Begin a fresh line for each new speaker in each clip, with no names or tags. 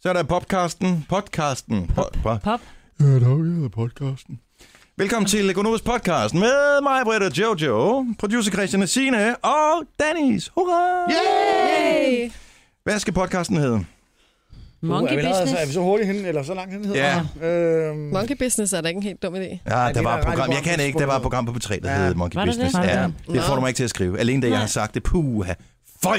Så er der podcasten. Podcasten. Pop. Po-
Pop.
Ja, der hedder podcasten. Velkommen til Økonomisk Podcast med mig, Britt og Jojo, producer Christian og Signe og Dennis. Hurra!
Yay!
Hvad skal podcasten hedde?
Monkey
Uh, er vi allerede
business.
Så, er vi så hurtigt henne, eller så langt henne hedder
Ja.
yeah. øhm,
Monkey business er da ikke en helt dum idé.
Ja, der
det
var
var
et program.
Radio
Jeg kan
Monkey
ikke. Der var et
Sport.
program på P3, der
Ja.
hed Monkey
Var der det?
Business.
Var der
Ja,
det?
det får du
Nå.
mig ikke til at skrive. Alene da jeg har sagt det. Puha. Føj!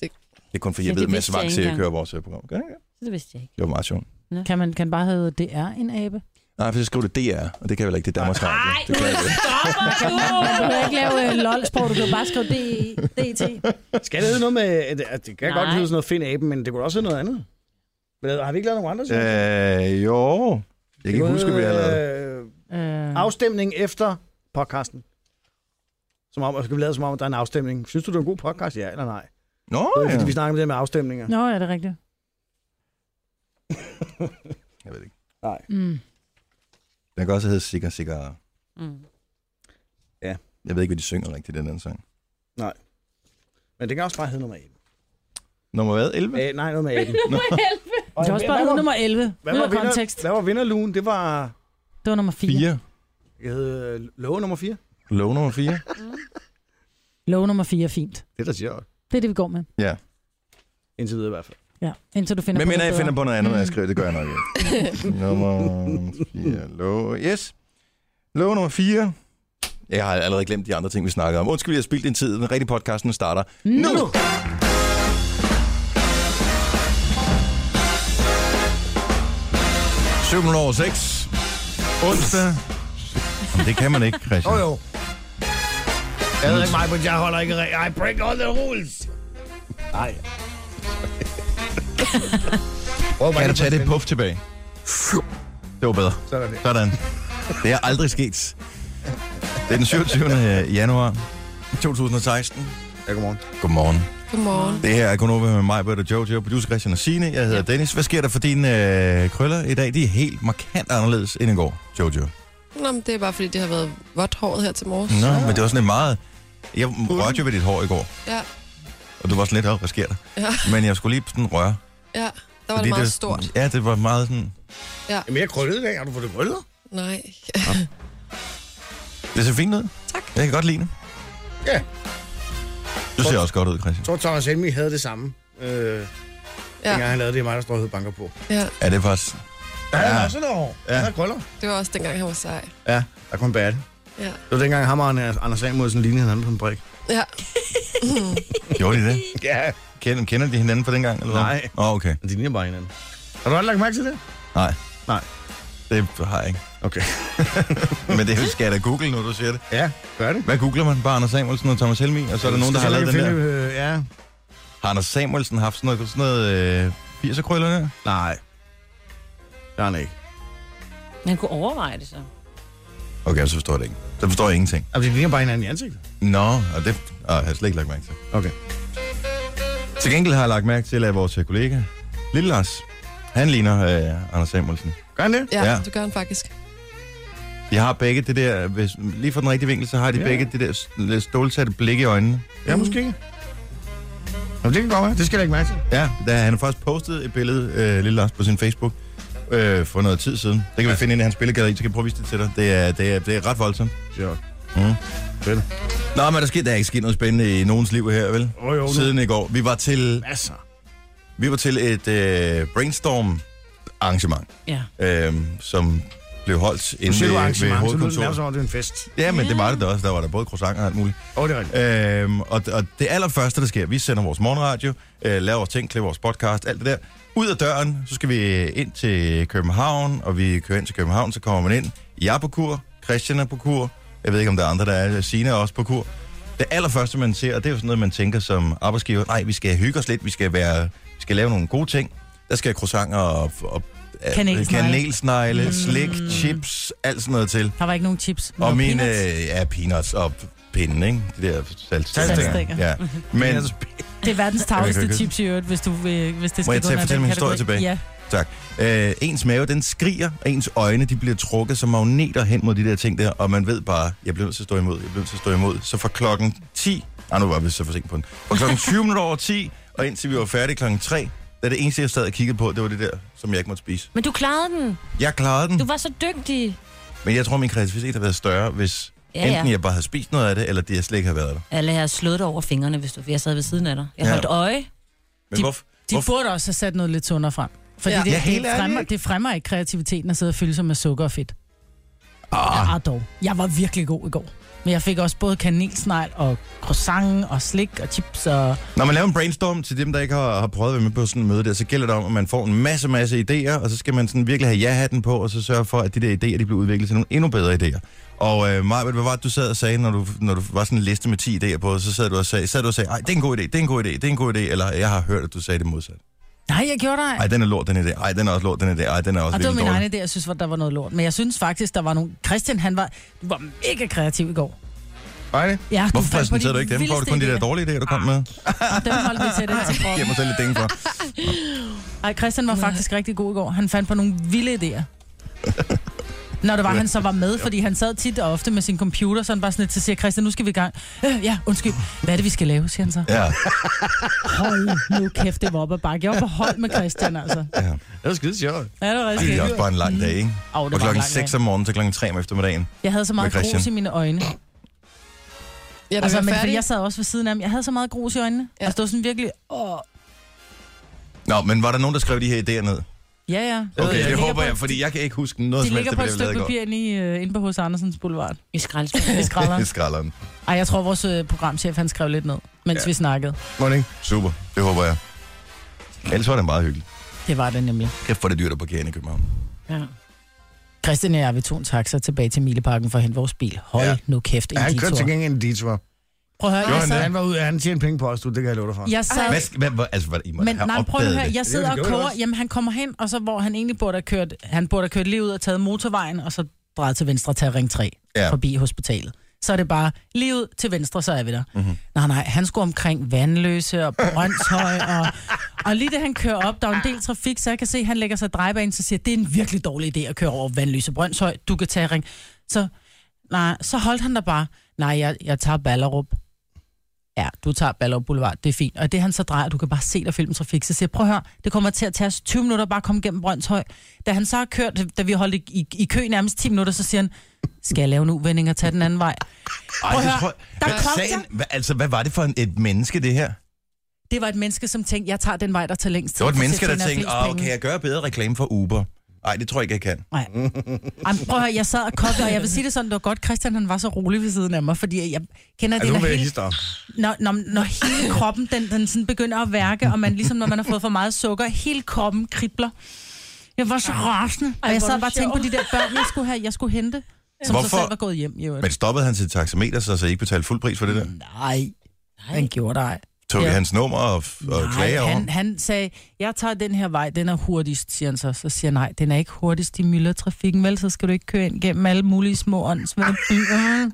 Det er kun fordi, jeg
Ja, det
ved, at Mads
vidste jeg
Vang
ikke
siger, at jeg
engang.
kører vores øh, program. Gør jeg ikke?
det vidste jeg ikke.
Det var meget sjovt.
Kan man kan bare hedde, det er en abe?
Nej, for så skriver det DR, og det kan jeg vel ikke. Det er Danmarks Radio. Det kan jeg ikke.
Man kan ikke lave øh, lol-sprog, du kan bare skrive D- E DT.
Skal det hedde noget med... at- at Det kan
Nej.
godt hedde sådan noget Find Aben, men det kunne også hedde noget andet. Men har vi ikke lavet nogen andre? Øh,
Øh, jo. Jeg kan ikke huske, hvad jeg har lavet.
lavede.
Øh,
Afstemning efter podcasten. Som om, og så skal vi lave som om, at der er en afstemning. Synes du, det er en god podcast? Ja eller nej?
Nå,
Oh, ja.
ja.
Fordi vi snakker om det her med afstemninger.
Nå, er det rigtigt?
Jeg ved det ikke.
Nej.
Mm.
Den kan også hedde Sikker Sikker.
Mm.
Jeg ved ikke, hvad de synger rigtigt i den anden sang.
Men det kan også bare hedde noget med aben.
Nummer hvad? 11?
Æ, nej, noget med aben.
Det er også bare hedde nummer 11.
hvad
Ud
var,
af kontekst.
vinder, hvad var vinderlugen? Det var
Det var nummer 4.
4.
jeg hed, øh, låge nummer 4.
Lov nummer 4.
Lov nummer 4 er fint.
Det er da sjovt.
Det er det, vi går med.
Ja.
Indtil videre i hvert fald.
Ja, indtil du finder
Men
på
mindre
noget
jeg
bedre.
finder
Mm.
på noget andet, når jeg skriver. Det gør jeg nok ikke. nummer 4. Lov. Yes. Lov nummer 4. Jeg har allerede glemt de andre ting, vi snakker om. Undskyld, jeg har spildt din tid. Den rigtige podcast, den starter nu. nu. over 6. Onsdag. Jamen, Det kan man ikke, Christian.
jo. Jeg ved ikke mig, men jeg holder ikke... re- I break all the rules. Nej. Prøv
Kan du tage det puff tilbage? Det var bedre.
Sådan det.
Sådan. Det er aldrig sket. Det er den 27. januar 2016.
Ja, godmorgen.
Godmorgen.
Godmorgen.
Det her er Konoba med mig, Bette Jojo, producer Christian og Signe. Jeg hedder Dennis. Hvad sker der for dine øh, krøller i dag? De er helt markant anderledes end i går, Jojo.
Nå, men det er bare fordi, det har været vådt håret her til morges.
Nå, men det var sådan en meget... Jeg rørte jo ved dit hår i går,
Ja,
og du var sådan lidt, "Åh, hvad sker der?
ja,
Men jeg skulle lige sådan røre.
ja. Der var
fordi
det meget stort.
Ja, det var meget sådan...
Jamen, jeg krøllet i dag. Har du fået det krøllet?
Nej.
Det ser fint ud.
Tak.
Jeg kan godt lide det.
Ja.
Du ser også godt ud, Christian.
Jeg tror, Thomas Helmi havde det samme. Øh,
Ja,
dengang han lavede det, er mig, der står og hed banker på.
ja.
Ja, det er faktisk...
Ja, han
Ja.
har også noget hår.
Ja.
Han har krøller.
Det var også dengang, han var sej.
Ja, der kom bad.
Ja.
Det var dengang ham og Anders- Anders Samuelsen lignede hinanden på en brik.
Ja,
Gjorde de det?
Ja.
Kender, kender de hinanden fra dengang? Eller hvad?
Nej.
Åh, oh, okay.
Men de ligner bare hinanden. Har du aldrig lagt mærke til det?
Nej.
Nej.
Det har jeg ikke.
Okay.
Men det skal jeg da google, når du siger det.
Ja, gør det.
Hvad googler man? Bare Anders Samuelsen og Thomas Helmi, og så er der nogen, der har lavet den der.
Øh, ja.
Har Anders Samuelsen haft sådan noget, sådan noget øh, 80'er krøller der?
Nej. Det har han ikke.
Man kunne overveje det så.
Okay, så forstår jeg det ikke. Så forstår jeg ingenting.
Altså, de ligner bare hinanden i ansigtet.
Nå, og det og jeg har jeg slet ikke lagt mærke til.
Okay.
Til gengæld har jeg lagt mærke til, at vores kollega, Lille Lars, han ligner øh, Anders Samuelsen.
Gør han det?
ja,
Ja.
ja. det gør han faktisk.
De har begge det der, hvis, lige fra den rigtige vinkel, så har de ja.
Ja.
begge det der s- lidt stålsatte blik i øjnene. Mm.
Ja, måske ikke. Jamen, det kan godt være. Det skal jeg ikke mærke til.
Ja, da han har faktisk postet et billede, øh, Lille Lars, på sin Facebook øh, for noget tid siden. Det kan vi finde ind i hans billedgalleri, så kan jeg prøve at vise det til dig. Det er, det er, det er ret voldsomt.
Sjovt.
Mm.
Fedt.
Nå, men der, sker, der er ikke sket noget spændende i nogens liv her, vel?
Åh, jo, nu-
Siden i går. Vi var til,
Masser.
vi var til et øh, brainstorm-arrangement,
Ja.
øh, som blev holdt
Nu
inde
siger du
ved, ved
arrangement, så lyder det nærmest
hovedkontoret.
som om, det er en fest.
Ja, men det var det da også. Der var der både croissant og alt muligt.
Åh, oh, det er rigtigt.
Øhm, og, og det allerførste, der sker, vi sender vores morgenradio, øh, laver vores ting, klipper vores podcast, alt det der. Ud af døren, så skal vi ind til København, og vi kører ind til København, så kommer man ind. Jeg er på kur, Christian er på kur, jeg ved ikke, om der er andre, der er, Sina er også på kur. Det allerførste, man ser, og det er jo sådan noget, man tænker som arbejdsgiver, nej, vi skal hygge os lidt, vi skal, være, vi skal lave nogle gode ting. Der skal croissanter og, og øh,
Kanelsnegle.
kanelsnegle, mm. slik, chips, alt sådan noget til.
Der var ikke nogen chips.
Og mine,
peanuts.
øh, ja, peanuts og pinden, ikke? De der saltstikker.
Saltstænger.
Ja. Men,
Mhm. Det er verdens
Jeg kan
tavligste
ikke-
chips i øvrigt, hvis, du, vil- hvis det skal
Må jeg
gå
tage-
under
fortælle
den
min historie
kategori.
tilbage?
Ja.
tak. Øh, ens mave, den skriger, og ens øjne, de bliver trukket som magneter hen mod de der ting der, og man ved bare, jeg bliver nødt til at stå imod, jeg bliver nødt til at stå imod. Så fra klokken 10, ah, nu var vi så for sent på den, fra klokken 20 minutter over 10, og indtil vi var færdige klokken 3, det er det eneste, jeg sad og kiggede på, det var det der, som jeg ikke måtte spise.
Men du klarede den.
Jeg klarede den,
Du var så dygtig.
men jeg tror, min kreativitet har været større, hvis
Ja,
enten
ja.
jeg bare havde spist noget af det, eller det, jeg slet ikke havde været der.
Alle har slået dig over fingrene, hvis du, for jeg sad ved siden af dig. Jeg
Ja.
holdt øje.
Men
De-
hvorfor?
De
hvorfor?
burde også have sat noget lidt sundere frem. Fordi
Ja.
det,
Ja, helt
det,
ærligt,
fremmer,
ikke?
det fremmer ikke kreativiteten at sidde og fylde sig med sukker og fedt. Ah. Ja, dog. Jeg var virkelig god i går. Men jeg fik også både kanelsnegl og croissant og slik og chips og...
Når man laver en brainstorm til dem, der ikke har, har prøvet at være med på sådan en møde der, så gælder det om, at man får en masse, masse idéer, og så skal man sådan virkelig have ja-hatten på, og så sørge for, at de der idéer de bliver udviklet til nogle endnu bedre idéer. Og øh, Maja, hvad var det, du sad og sagde, når du, når du var sådan en liste med 10 idéer på, så sad du og sagde, sad du og sagde, Ej, det er en god idé, det er en god idé, det er en god idé, eller jeg har hørt, at du sagde det modsat.
Nej, jeg gjorde dig.
Ej, den er lort, den idé. Ej, den er også lort, den idé. Ej, den er også
Og det var
virkelig
min
dårlig.
egen idé, jeg synes, at der var noget lort. Men jeg synes faktisk, der var nogle... Christian, han var, du var mega kreativ i går.
Ej, det?
Ja,
Hvorfor
fandt på
præsenterede
de
du ikke dem? Får du kun de
vildeste Ah,
der dårlige idéer, du kom med?
idéer, og Dem holdt vi til den til
Giver
kroppen.
mig selv lidt dænge for.
Ej, Christian var faktisk rigtig god i går. Han fandt på nogle vilde idéer. Når det var, han så var med, fordi han sad tit og ofte med sin computer, så han bare sådan lidt til siger, Christian, nu skal vi i gang. Øh, ja, undskyld. Hvad er det, vi skal lave, siger han så.
Ja,
Hold nu kæft, det var op ad bakke. Jeg var på hold med Christian, altså.
ja.
Det var skide sjovt.
Ja, det var rigtig
Det er
skægt.
også bare en lang dag, ikke?
Åh, det
Fra
var en
klokken
lang
6
dag.
om morgenen til klokken 3 om eftermiddagen.
Jeg havde så meget
med
grus i
Christian.
mine øjne.
Ja, da
Altså,
vi var
men fordi
færdige,
jeg sad også ved siden af ham. Jeg havde så meget grus i øjnene.
Ja.
Altså, det var sådan virkelig... Åh.
Nå, men var der nogen, der skrev de her idéer ned?
Ja, ja.
Okay,
ligger
det
på
håber
et-
jeg, fordi jeg kan ikke huske noget
De
som helst,
ligger
det
på et
bliver lavet
stykke
i går.
papir inde, i, øh, inde på hos Andersens Boulevard.
I skraldespanden.
I
I
skralderen.
skralderen.
Ej, jeg tror, vores øh, programchef, han skrev lidt ned, mens
Ja.
ja. vi snakkede.
Morning. Super, det håber jeg. Ellers var det meget hyggeligt.
Det var det nemlig.
Kæft for det er dyrt at parkere inde i København.
Ja.
Christian og jeg, vi tog en taxa tilbage til Mileparken for at hente vores bil. Hold
Ja.
ja. nu kæft, en
Ja, han kørte til
detur.
gengæld en detour.
Prøv at
Gjorde
høre, jeg
han
sad...
Han var ude, han tjente penge på os, du, det kan jeg love dig for.
Jeg sad
Hvad, sk- hvad, hvad, altså, hvad, I må
men
have
nej, prøv
opdaget
at høre,
det.
jeg sidder
det
og
gjorde jeg
koger,
også.
jamen han kommer hen, og så hvor han egentlig burde have kørt, han burde have kørt lige ud og taget motorvejen, og så drejet til venstre til at ringe 3
Ja.
ja. forbi hospitalet. Så er det bare lige ud til venstre, så er vi der.
Mhm.
Mm-hmm. Nej, nej, han skulle omkring Vandløse og Brøndshøj, og, og lige da han kører op, der er en del trafik, så jeg kan se, at han lægger sig i drejebanen, så siger jeg, det er en virkelig dårlig idé at køre over Vandløse og Brøndshøj, du kan tage ring. Så, nej, så holdt han der bare, nej, jeg, jeg tager Ballerup. Ja, du tager Ballerup Boulevard, det er fint. Og det han så drejer, du kan bare se der filmen trafik, så siger jeg, prøv at høre, det kommer til at tage os 20 minutter at bare komme gennem Brøndshøj. Da han så har kørt, da vi holdt i, i, i kø nærmest 10 minutter, så siger han, skal jeg lave en uvending og tage den anden vej?
Ej, det
høre,
tror jeg-
der
Hvad-
kom
sagen,
jeg.
hvad, altså, hvad var det for en, et menneske, det her?
Det var et menneske, som tænkte, jeg tager den vej, der tager længst
Det
tid.
var et
for
menneske, der
tjener
tænkte, "Ah,
flest
åh,
penge."
kan jeg gøre bedre reklame for Uber? Nej, det tror jeg ikke, jeg kan.
Nej. Jamen, prøv at høre, jeg sad og kogte, og jeg vil sige det sådan, det var godt, Christian han var så rolig ved siden af mig, fordi jeg kender det,
Altså, nu
når
vil jeg
hele,
hisse dig op.
når, når, når hele kroppen den, den sådan begynder at værke, og man ligesom når man har fået for meget sukker, hele kroppen kribler. Jeg var så rasende, og
Ej,
jeg
hvor er
sad
du
bare og tænkte på
sjov.
de der børn, jeg skulle, have, jeg skulle hente, som
Hvorfor?
så selv var gået hjem. Jo.
Men stoppede han til taxameter, så, så I ikke betalte fuld pris for det der?
Nej, han gjorde dig.
Tog I
Ja.
hans nummer og, og klage over?
han, han sagde, jeg tager den her vej, den er hurtigst, siger han så. Så siger jeg, nej, den er ikke hurtigst i myldretrafikken, vel, så skal du ikke køre ind gennem alle mulige små åndsvælde byer.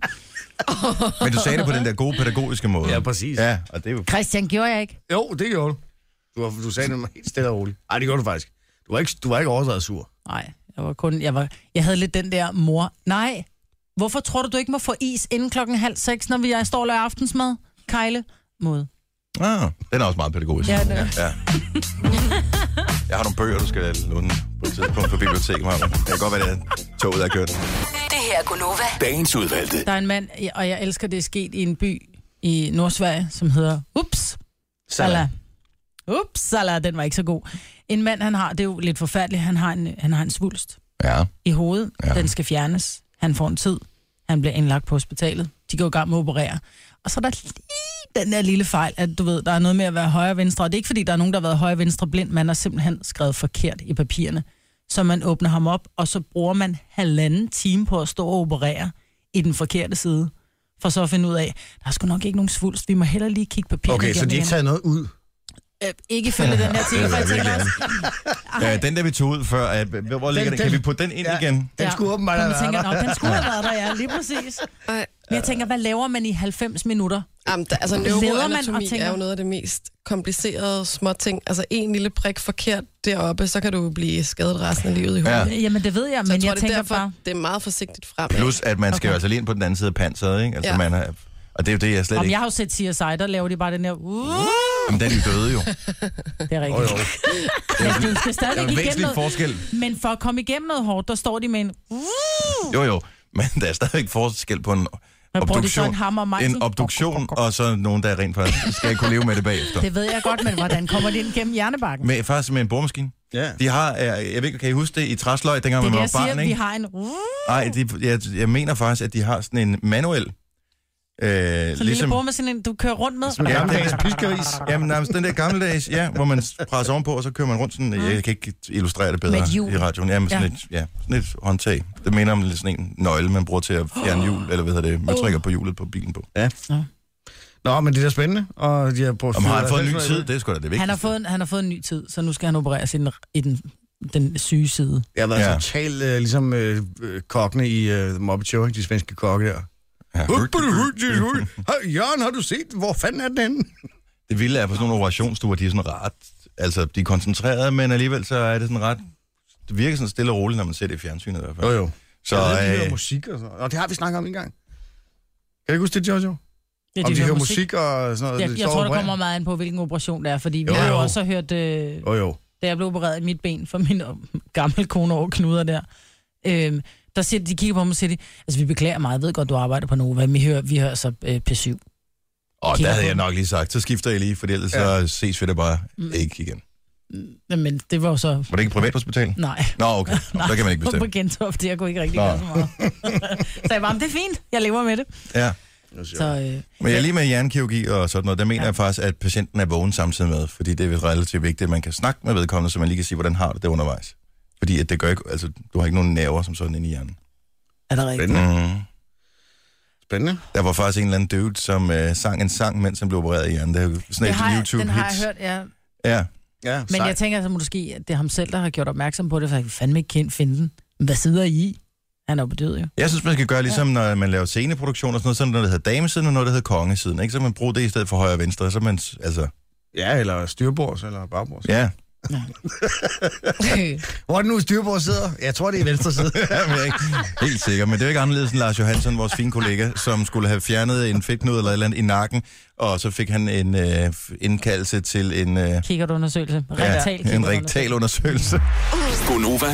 Men du sagde det på den der gode pædagogiske måde.
Ja, præcis.
Ja, og det er jo...
Christian, gjorde jeg ikke?
Jo, det gjorde du. Du, var, du sagde det mig helt stille og roligt. Nej, det gjorde du faktisk. Du var ikke, du var ikke overdrevet sur.
Nej, jeg var kun, jeg, var, jeg havde lidt den der mor. Nej, hvorfor tror du, du ikke må få is inden klokken halv seks, når vi jeg står og laver aftensmad? Kejle mod.
Ah, den er også meget pædagogisk.
Ja, den er.
ja. Jeg har nogle bøger, du skal låne på et tidspunkt på biblioteket, Maja. Det kan godt være, det er toget er kørt.
Det her er Gunova.
Dagens udvalgte.
Der er en mand, og jeg elsker, det er sket i en by i Nordsverige, som hedder Ups. Sala. Ups, sala, den var ikke så god. En mand, han har, det er jo lidt forfærdeligt, han har en, han har en svulst
Ja.
i hovedet.
Ja.
Ja. Den skal fjernes. Han får en tid. Han bliver indlagt på hospitalet. De går i gang med at operere. Og så er der lige den der lille fejl, at du ved, der er noget med at være højre og venstre. Og det er ikke, fordi der er nogen, der har været højre og venstre blind. Man har simpelthen skrevet forkert i papirerne. Så man åbner ham op, og så bruger man halvanden time på at stå og operere i den forkerte side. For så at finde ud af, der er sgu nok ikke nogen svulst. Vi må hellere lige kigge papirerne
Okay, så
igennem
de ikke
igen."
taget noget ud.
Øh, ikke følge den her ting, for jeg tænker også,
Øh, den der, vi tog ud før, at, hvor ligger den, den?
den-
Kan vi putte den ind
Ja.
ja. igen?
Den
Ja.
skulle åbenbart
Hvor
have
man tænker,
været der.
"Nå, den skulle have været der, ja, lige præcis.
Ej.
Men jeg tænker, hvad laver man i 90 minutter?
Jamen, der, altså,
Leder man
neuroanatomi
og tænker-
er jo noget af det mest komplicerede små ting. Altså, en lille prik forkert deroppe, så kan du blive skadet resten af livet i hovedet.
Ja.
Ja.
Jamen, det ved jeg,
Så
men jeg,
tror,
jeg
det er
tænker
derfor,
bare...
det er meget forsigtigt frem.
Plus, at man skal okay. altså lige ind på den anden side af panseret, ikke? Altså, ja.
Ja.
man er, Og det er jo det, jeg slet
Om
ikke...
jeg har jo set CSI, der laver de bare den her... Uh,
Jamen, den er jo døde jo.
det er
Oh,
rigtigt.
jo.
Men du skal
Der er en
stadigvæk igennem
væsentlig
noget.
forskel.
Men for at komme igennem noget hårdt, der står de med en... Uh,
Jo, jo. Men der er stadigvæk forskel på en
man bruger de så en
obduktion,
hammer og mejsel.
en obduktion og så nogen, der rent faktisk skal kunne leve med det bagefter.
Det ved jeg godt, men hvordan kommer det ind gennem hjernebakken?
Med, faktisk med en boremaskine.
Ja.
De har, øh, jeg ved ikke, kan I huske det, i træsløg, dengang
Det er
man
det,
var
jeg siger,
barn,
at vi
ikke?
har en... Uh,
Nej, de, jeg, jeg mener faktisk, at de har sådan en manuel... Øh,
så ligesom... lille med sådan en, du kører rundt med.
Ja,
Gamle
det-
dags piskeris.
Jamen, nærmest den der gammeldags, ja, hvor man presser ovenpå, og så kører man rundt sådan, jeg kan ikke illustrere det bedre
Ah. Med et hjul.
i radioen. Ja, men sådan,
Ja.
ja. Et, ja, sådan et håndtag. Det minder om lidt sådan en nøgle, man bruger til at fjerne hjul, eller hvad hedder det, man trykker på hjulet på bilen på.
Nå, men det er da spændende. Og de har brugt
Om har han
fyret
fået en ny
halvfems
tid, det er sgu da det vigtigste.
Han har, fået, en- han har fået en ny tid, så nu skal han opereres i den, i den, den syge side.
Jeg har været
Ja.
ja. totalt øh, ligesom øh, øh, kokkene i øh, Muppet Show, ikke? de svenske kokke der.
Ja.
Hey, Jørgen, har du set? Hvor fanden er den henne?
Det vilde er på sådan nogle operationsstuer, de er sådan ret, altså de er koncentrerede, men alligevel så er det sådan ret, det virker sådan stille og roligt, når man ser det i fjernsynet i hvert fald.
Jo, jo.
Så
jeg ved, de hører
øh,
musik og sådan noget. Og det har vi snakket om en gang. Kan du huske det, Jojo?
Ja,
om de hører musik. og sådan noget.
Jeg, jeg tror, der kommer meget an på, hvilken operation det er, fordi vi
Jo,
har jo
jo.
også hørt, øh,
Jo, jo.
da jeg blev opereret i mit ben for min øh, gamle kone over knuder der, øh, der siger de, de kigger på mig og siger, de, altså vi beklager meget, jeg ved godt, du arbejder på Nova, men vi hører, vi hører så øh, P7.
og der
kigger
havde
på.
jeg nok lige sagt, så skifter jeg lige, for ellers
Ja. Mm.
så ses vi da bare ikke igen.
Men det var jo så,
Var det ikke et privathospital?
nej.
Nå, okay. Nå, der kan man ikke
På
bestemme.
Gentofte, jeg kunne ikke rigtig
Nå.
gøre så meget. så jeg var, "Men det er fint, jeg lever med det.
Ja.
Så, øh,
Men jeg lige med hjernekirurgi og sådan noget, der mener ja. jeg faktisk, at patienten er vågen samtidig med, fordi det er relativt vigtigt, at man kan snakke med vedkommende, så man lige kan sige, hvordan har du det undervejs. Fordi at det gør ikke, altså, du har ikke nogen nerver som sådan inde i hjernen.
er det rigtigt?
Spændende.
Mm.
Spændende.
Der var faktisk en eller anden dude, som øh, sang en sang, mens han blev opereret i hjernen. Det er jo sådan
Det
et
har jeg,
YouTube-hit.
den har jeg hørt, ja.
Ja,
Ja,
Men jeg tænker altså måske, at det er ham selv, der har gjort opmærksom på det, for jeg kan fandme ikke kende- finde den. Men Hvad sidder I i? Han er jo bedød, jo.
jeg synes, man skal gøre ligesom, når man laver sceneproduktion og sådan noget, sådan noget, der hedder damesiden og noget, der hedder kongesiden. Ikke? Så man bruger det i stedet for højre og venstre. Så man, s- altså,
Ja, eller styrbords eller bagbords. Ja.
ja.
Hvor er det nu, styrbords sidder? Jeg tror, det er venstre side.
Jamen, jeg er ikke helt sikker, men det er jo ikke anderledes end Lars Johansson, vores fine kollega, som skulle have fjernet en fedtknude eller et eller andet i nakken, og så fik han en øh, indkaldelse til en, øh, ja,
Kigger du undersøgelse? Rektal,
en rektal undersøgelse.
Gonova.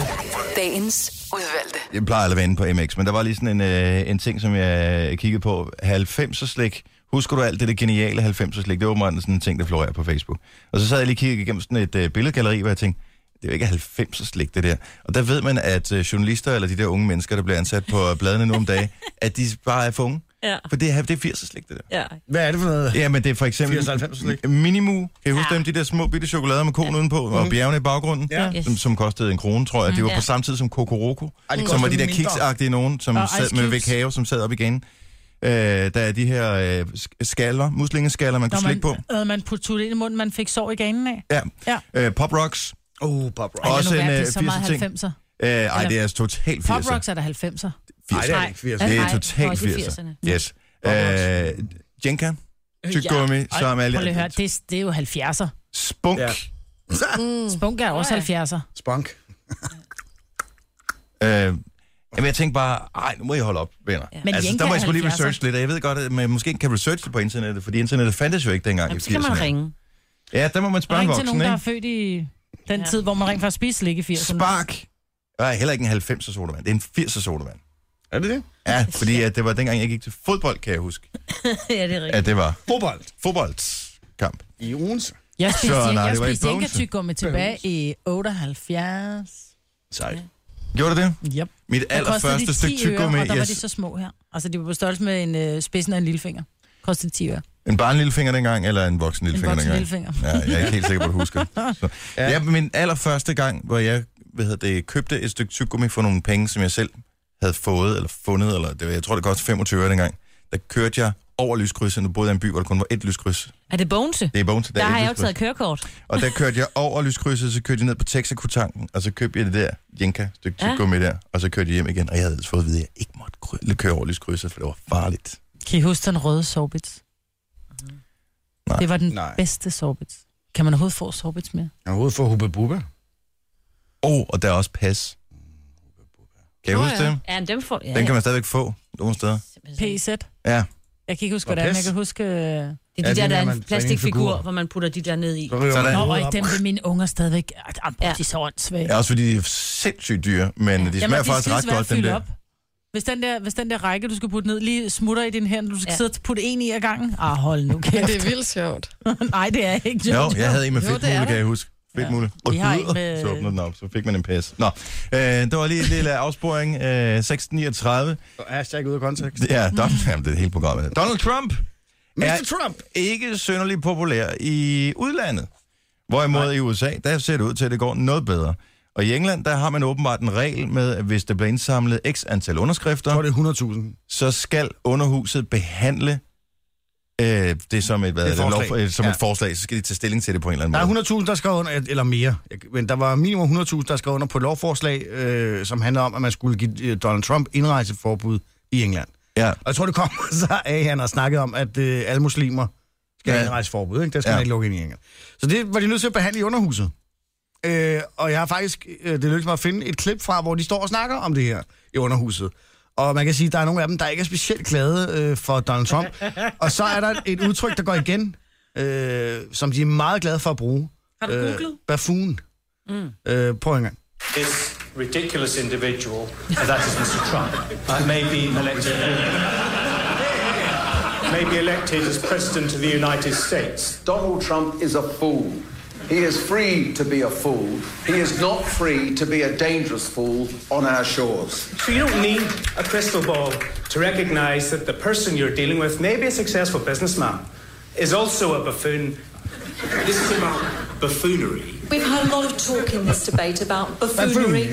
Dagens udvalgte.
Jeg plejer aldrig at være inde på MX, men der var lige sådan en, øh, en ting, som jeg kiggede på. 90'er slik. Husker du alt det, det geniale 90'er slik? Det var åbenbart sådan en ting, der florerer på Facebook. Og så sad jeg lige og kiggede igennem sådan et øh, billedgalleri, hvor jeg tænkte, det er jo ikke 90'er slik, det der. Og der ved man, at øh, journalister eller de der unge mennesker, der bliver ansat på øh, bladene nu om dagen, at de bare er for unge.
Ja.
For det, er- det er 80'er slik, det der.
Ja.
Hvad er det for noget?
Ja, men det er for eksempel
80-90 slik.
Minimu. Kan I huske ja. dem, de der små bitte chokolader med konen udenpå, og bjergene i baggrunden?
Ja.
Yes.
Som, som kostede en krone, tror jeg. Det var på
Ja.
samme tid som Kokoroko,
Ej, det
som var de
kostede
der
mindre.
kiksagtige nogen, som
Og
sad
Ice
med
Cubes.
Vekave, som sad op igen. Øh, der er de her øh, sk- skaller, muslingeskaller, man
Når
kunne
man,
slikke på.
øh, man puttede det ind i munden, man fik sår i ganen af.
Ja.
Ja.
Øh, Pop Rocks.
Oh, pop rock.
Ej,
Også
lad nu
en,
være,
øh,
det er så meget
80'er ting.
90'er.
Øh, ej,
Eller-
det er altså totalt 80'er.
Pop Rocks er der 90'er.
80'er.
Nej, det er det ikke. 80.
Det er
Nej,
totalt
også i
80'er.
80'erne.
Yes.
Pop Rocks.
Øh, Jenka, tyggegummi, ja. som
Øh, Prøv lige at høre,
alle...
det, det er jo 70'er.
Spunk.
Ja.
Spunk er også
Ej.
70'er.
Spunk.
Øh, jamen, jeg tænkte bare, ej, nu må I holde op, venner. Ja.
Men
altså,
Jenka
der må
er
jeg sgu lige
70'er.
researche lidt, og jeg ved godt, at man måske ikke kan researche det på internettet, fordi internettet fandtes jo ikke dengang.
Jamen,
i
så kan
80'erne.
man ringe.
Ja, der må man spørge en
Ring
voksen,
til nogen, der er
ikke?
født i den
Ja.
tid, hvor man rent faktisk spiste slik i 80'erne.
Spark. Jeg er heller ikke en 90'er sodavand, det er en 80'er sodavand.
Er det det?
Ja, fordi at det var dengang, jeg gik til fodbold, kan jeg huske,
ja, det er rigtigt.
at det var
Fodbold.
fodboldskamp.
I Odense.
Jeg spiste,
Så, nej,
jeg
det var i
spiste
Bogense.
jænkatygummi tilbage i 78.
Sejt.
Gjorde du det?
Yep.
Mit
Der kostede de
allerførste
10
stykke
øre,
tyggegummi,
Og der var
yes,
de så små her. Altså, de var på størrelse med en øh, spidsen af en lillefinger. Kostede 10 øre.
en barnlillefinger dengang, eller en voksen
En
lillefinger
voksen
dengang?
lillefinger.
Ja, jeg er ikke helt sikker på, at du husker. Så. Ja.
Ja.
ja, min allerførste gang, hvor jeg hvad hedder det, købte et stykke tyggegummi for nogle penge, som jeg selv havde fået eller fundet, eller det, var- jeg tror, det kostede 25 øre dengang, der kørte jeg over lyskrydset. Nu boede jeg i en by, hvor der kun var et lyskryds.
Er det Bonse?
Det er Bones, der,
Der
er
har
et
jeg jo
lyskryds.
taget kørekort.
Og der kørte jeg over lyskrydset, så kørte jeg ned på Texaco-tanken, og så købte jeg det der Jenka stykke
Ja.
tyggegummi der, og så kørte jeg hjem igen, og jeg havde ellers fået at vide, at jeg ikke måtte kry- køre over lyskrydset, for det var farligt.
Kan I huske den røde sorbits?
Nej.
Det var den
Nej.
bedste sorbits. Kan man overhovedet få sorbits mere?
Jeg har hovedet for Hubba Bubba.
Åh, oh, og der er også pas. Kan I
Nå
huske
ja.
det?
Mm, Ja, men dem får... Ja,
Den kan man stadigvæk få nogle steder.
simpelthen.
PZ.
Ja.
Jeg kan ikke huske,
Nå,
hvordan, men jeg
pis.
kan huske... øh,
Det er
Ja,
de
det er,
der, der
når
er
man får
en
en figur.
plastikfigur, hvor man putter de der ned i.
Så ryger
Sådan.
man
Nå, og
hovedet op.
dem vil mine unger stadigvæk... Ej, de
Ja.
er så åndssvage.
Ja, også fordi de er sindssygt dyre, men de smager
de
faktisk
skal
ret
svære
godt,
at
den
fylde
der.
Op. Hvis den, der, hvis den der række, du skal putte ned, lige smutter i din hænder, du skal ja.
Ja.
sidde og putte en i ad gangen. Ah, hold nu
Men
kæft.
det er vildt sjovt.
Nej, det er ikke
Jo, jeg havde en med
Jo,
fedt
det er
mule,
der.
kan jeg huske. Fedt
Ja.
mule. Og
Vi har en
gløder.
med-
Så åbnede den op, så fik man en pas. Nå, øh, det var lige en lille afsporing. Øh, 1639.
Hashtag ud af kontekst.
Ja, Don,
Mm.
jamen, det er helt programmet. Donald Trump
Mr.
Ja.
Trump!
ikke synderligt populær i udlandet. Hvorimod Nej. i USA, der ser det ud til, at det går noget bedre. Og i England, der har man åbenbart en regel med, at hvis der bliver indsamlet x antal
Så er
underskrifter,
det 100.000.
så skal underhuset behandle øh, det som, et, hvad
Et
er det,
forslag.
lov, øh, som ja.
Ja.
et forslag. Så skal de tage stilling til det på en eller anden
Der
måde.
er 100.000, der skrev under, eller mere. Jeg- Men der var minimum 100.000, der skrev under på et lovforslag, øh, som handlede om, at man skulle give øh, Donald Trump indrejseforbud i England.
Ja.
Og jeg tror, det kommer så af, at han har snakket om, at øh, alle muslimer skal
Ja.
have indrejseforbud. Ikke? Der skal
Ja.
ja. man ikke lukke ind i England. Så det var de nødt til at behandle i underhuset. Øh, og jeg har faktisk, øh, det lykkedes mig at finde et klip fra, hvor de står og snakker om det her i underhuset. Og man kan sige, at der er nogle af dem, der ikke er specielt glade øh, for Donald Trump. og så er der et udtryk, der går igen, øh, som de er meget glade for at bruge. Øh,
Har du googlet?
Bafun. Mm. Øh, prøv en gang.
This ridiculous individual, and that is Mr. Trump, uh, may be elected. may be elected as president of the United States.
Donald Trump is a fool. He is free to be a fool. He is not free to be a dangerous fool on our shores.
So you don't need a crystal ball to recognise that the person you're dealing with may be a successful businessman, is also a buffoon. This is about buffoonery.
We've had a lot of talk in this debate about buffoonery.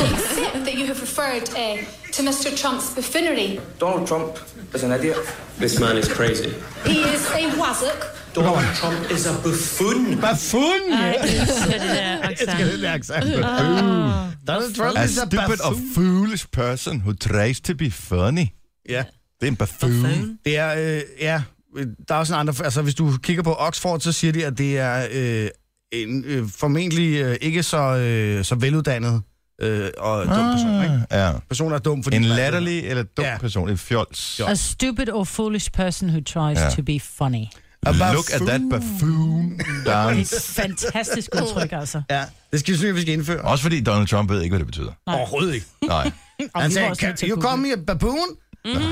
I accept that you have referred uh, to Mr. Trump's buffoonery.
Donald Trump is an idiot.
This man is crazy.
He is a wazzock.
Donald Trump is a buffoon.
Bafun!
Nej, det er det der accent.
Det er accent.
Uh,
Donald Trump
A
is a
stupid or
buffoon.
foolish person who tries to be funny.
Ja.
Det er en buffoon.
Det er, øh, ja, øh, der er også en andre, altså hvis du kigger på Oxford, så siger de, at det er øh, en øh, formentlig øh, ikke så, øh, så veluddannet øh, og ah. dum person, ikke?
Ja.
Personer er dum, fordi...
En
de er
latterlig eller dum ja.
Ja.
person. En fjols.
A stupid or foolish person who tries
Ja.
ja. to be funny.
A buffoon.
Look at that buffoon.
Det
Down.
er et fantastisk udtryk, altså.
Ja, det skal vi synes, vi skal indføre.
Også fordi Donald Trump ved ikke, hvad det betyder.
Overhovedet ikke.
Nej.
Og
Han
vi var også
sagde,
nødt
"Can
til at
you
google.
call me a baboon? Mhm.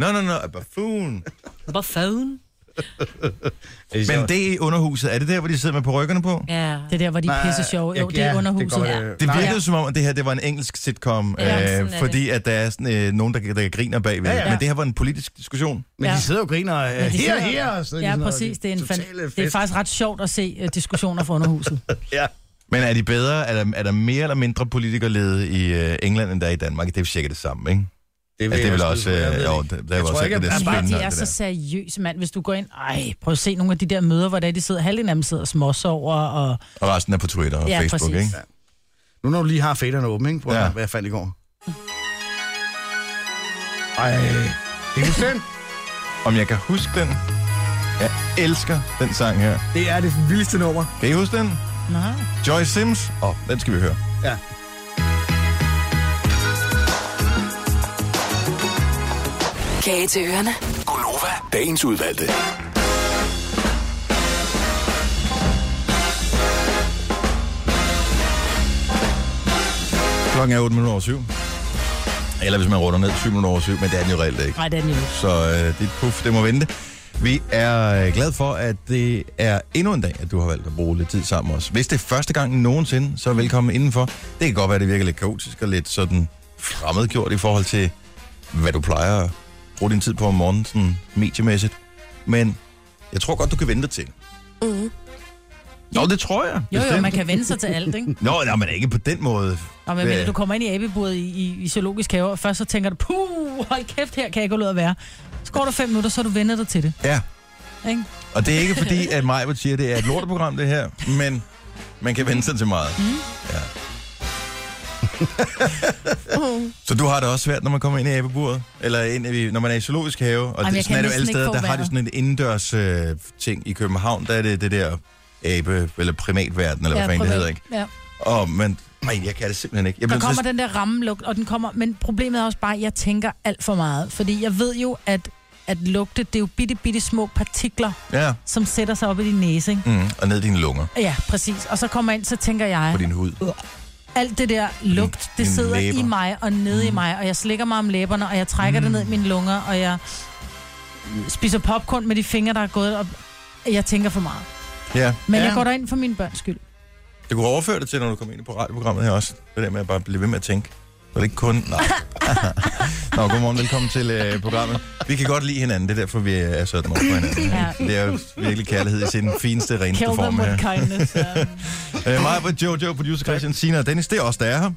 No, no, no, a buffoon.
Buffon.
Men det i underhuset, er det der, hvor de sidder med på ryggerne på?
Ja.
Det er der, hvor de er pisse sjove. Jo, det er underhuset.
Det,
Ja.
godt, øh,
Det
nej,
virkede som om, at det her det var en engelsk sitcom,
Ja, sådan er
øh,
det.
fordi at der er sådan, øh, nogen, der, der griner bagved. Ja,
Ja,
ja.
ja.
Men det her var en politisk diskussion.
men de
Ja.
sidder jo og griner øh,
Men de
her,
sidder-
her. og sådan
Ja,
noget.
præcis. Det er, en
Totale
fan... det er
fest.
faktisk ret sjovt at se øh, diskussioner fra underhuset.
Men er de bedre? Er der, er der mere eller mindre politikerlede i øh, England, end der er i Danmark? Det er jo cirka det samme, ikke?
Det
Altså, det er vel
jeg
også...
skyde på,
Øh,
jeg ved
jo,
ikke.
det, det er
Jeg
jo
tror
også
ikke,
ikke, det
at-
er
bare
Ja,
spændende.
de er
alt det
så
der.
seriøse, mand. Hvis du går ind... Ej, prøv at se nogle af de der møder, hvor det er, de sidder, halvdelen af dem sidder og småsover, og
Og resten er på Twitter og
Ja,
Facebook,
præcis.
ikke?
Nu når du lige har faderne åben, ikke? Prøv
Ja.
ja. hvad jeg fandt i går. Ej, det er bestemt.
Om jeg kan huske den? Jeg elsker den sang her.
Det er det vildeste nummer.
Kan I huske den?
Nej.
Joy Sims. Åh, oh, den skal vi høre.
Ja.
Kage til ørerne.
Gunova, dagens udvalgte.
Klokken er 8 minutter over 7. Eller hvis man runder ned, 7 minutter over 7, men det er den jo reelt ikke.
Nej, det er den jo. ikke.
Så øh, dit puff, det må vente. Vi er øh, glade for, at det er endnu en dag, at du har valgt at bruge lidt tid sammen med os. Hvis det er første gang nogensinde, så velkommen indenfor. Det kan godt være, at det virker lidt kaotisk og lidt sådan fremmedgjort i forhold til, hvad du plejer at bruge din tid på om morgenen, sådan mediemæssigt. Men jeg tror godt, du kan vente til. Mm. Nå, det tror jeg.
Jo, jo,
bestemt.
man kan vende sig til alt, ikke?
Nå, nej, men ikke på den måde.
Og hvad
Hvad-
mener, du kommer ind i abeburet i, i, i zoologisk have, og først så tænker du, puh, hold kæft, her kan jeg ikke holde ud at være. Så går der fem minutter, så har du vender dig til det.
Ja.
Ikke?
Og det er ikke fordi, at mig vil sige, at det er et lorteprogram, det her, men man kan vende sig til meget. Mm. Ja. så du har det også svært, når man kommer ind i abeburet? Eller ind i, når man er i zoologisk have? Og
Jamen,
Jamen,
jeg
det, sådan
kan
er det jo
næsten
alle
ikke
steder,
få
der har de
vejret.
sådan en indendørs øh, ting. I København, der er det det der abe- eller primatverden, eller ja, hvad fanden det
privat.
hedder, ikke?
Ja.
Og, men, nej, jeg kan det simpelthen ikke. Jeg
Der
bliver
kommer
nødt til-
den der rammelugt, og den kommer, men problemet er også bare, at jeg tænker alt for meget. Fordi jeg ved jo, at at lugte, det er jo bitte, bitte små partikler,
Ja.
som sætter sig op i din næse, ikke?
Mm, og ned i dine lunger.
Ja, præcis. Og så kommer jeg ind, så tænker jeg...
På din hud.
Alt det der lugt, det
dine
sidder
læber. Mm.
i mig og nede i mig, og jeg slikker mig om læberne, og jeg trækker mm. det ned i mine lunger, og jeg spiser popcorn med de fingre, der er gået, og jeg tænker for meget.
Ja.
Men
ja.
ja. jeg går derind for mine børns skyld.
Det kunne overføre det til, når du kommer ind på radioprogrammet her også. Det der med at bare blive ved med at tænke. Så det ikke kun... Nej. Nå, godmorgen. Velkommen til øh, programmet. Vi kan godt lide hinanden. Det er derfor, vi er så den over for hinanden.
Ja.
Det er jo virkelig kærlighed i sin fineste, reneste
Kill
form
them with
her.
kindness. ja.
Øh, mig, Britt, Jojo, producer Christian, Sina og Dennis, det er os, der er her.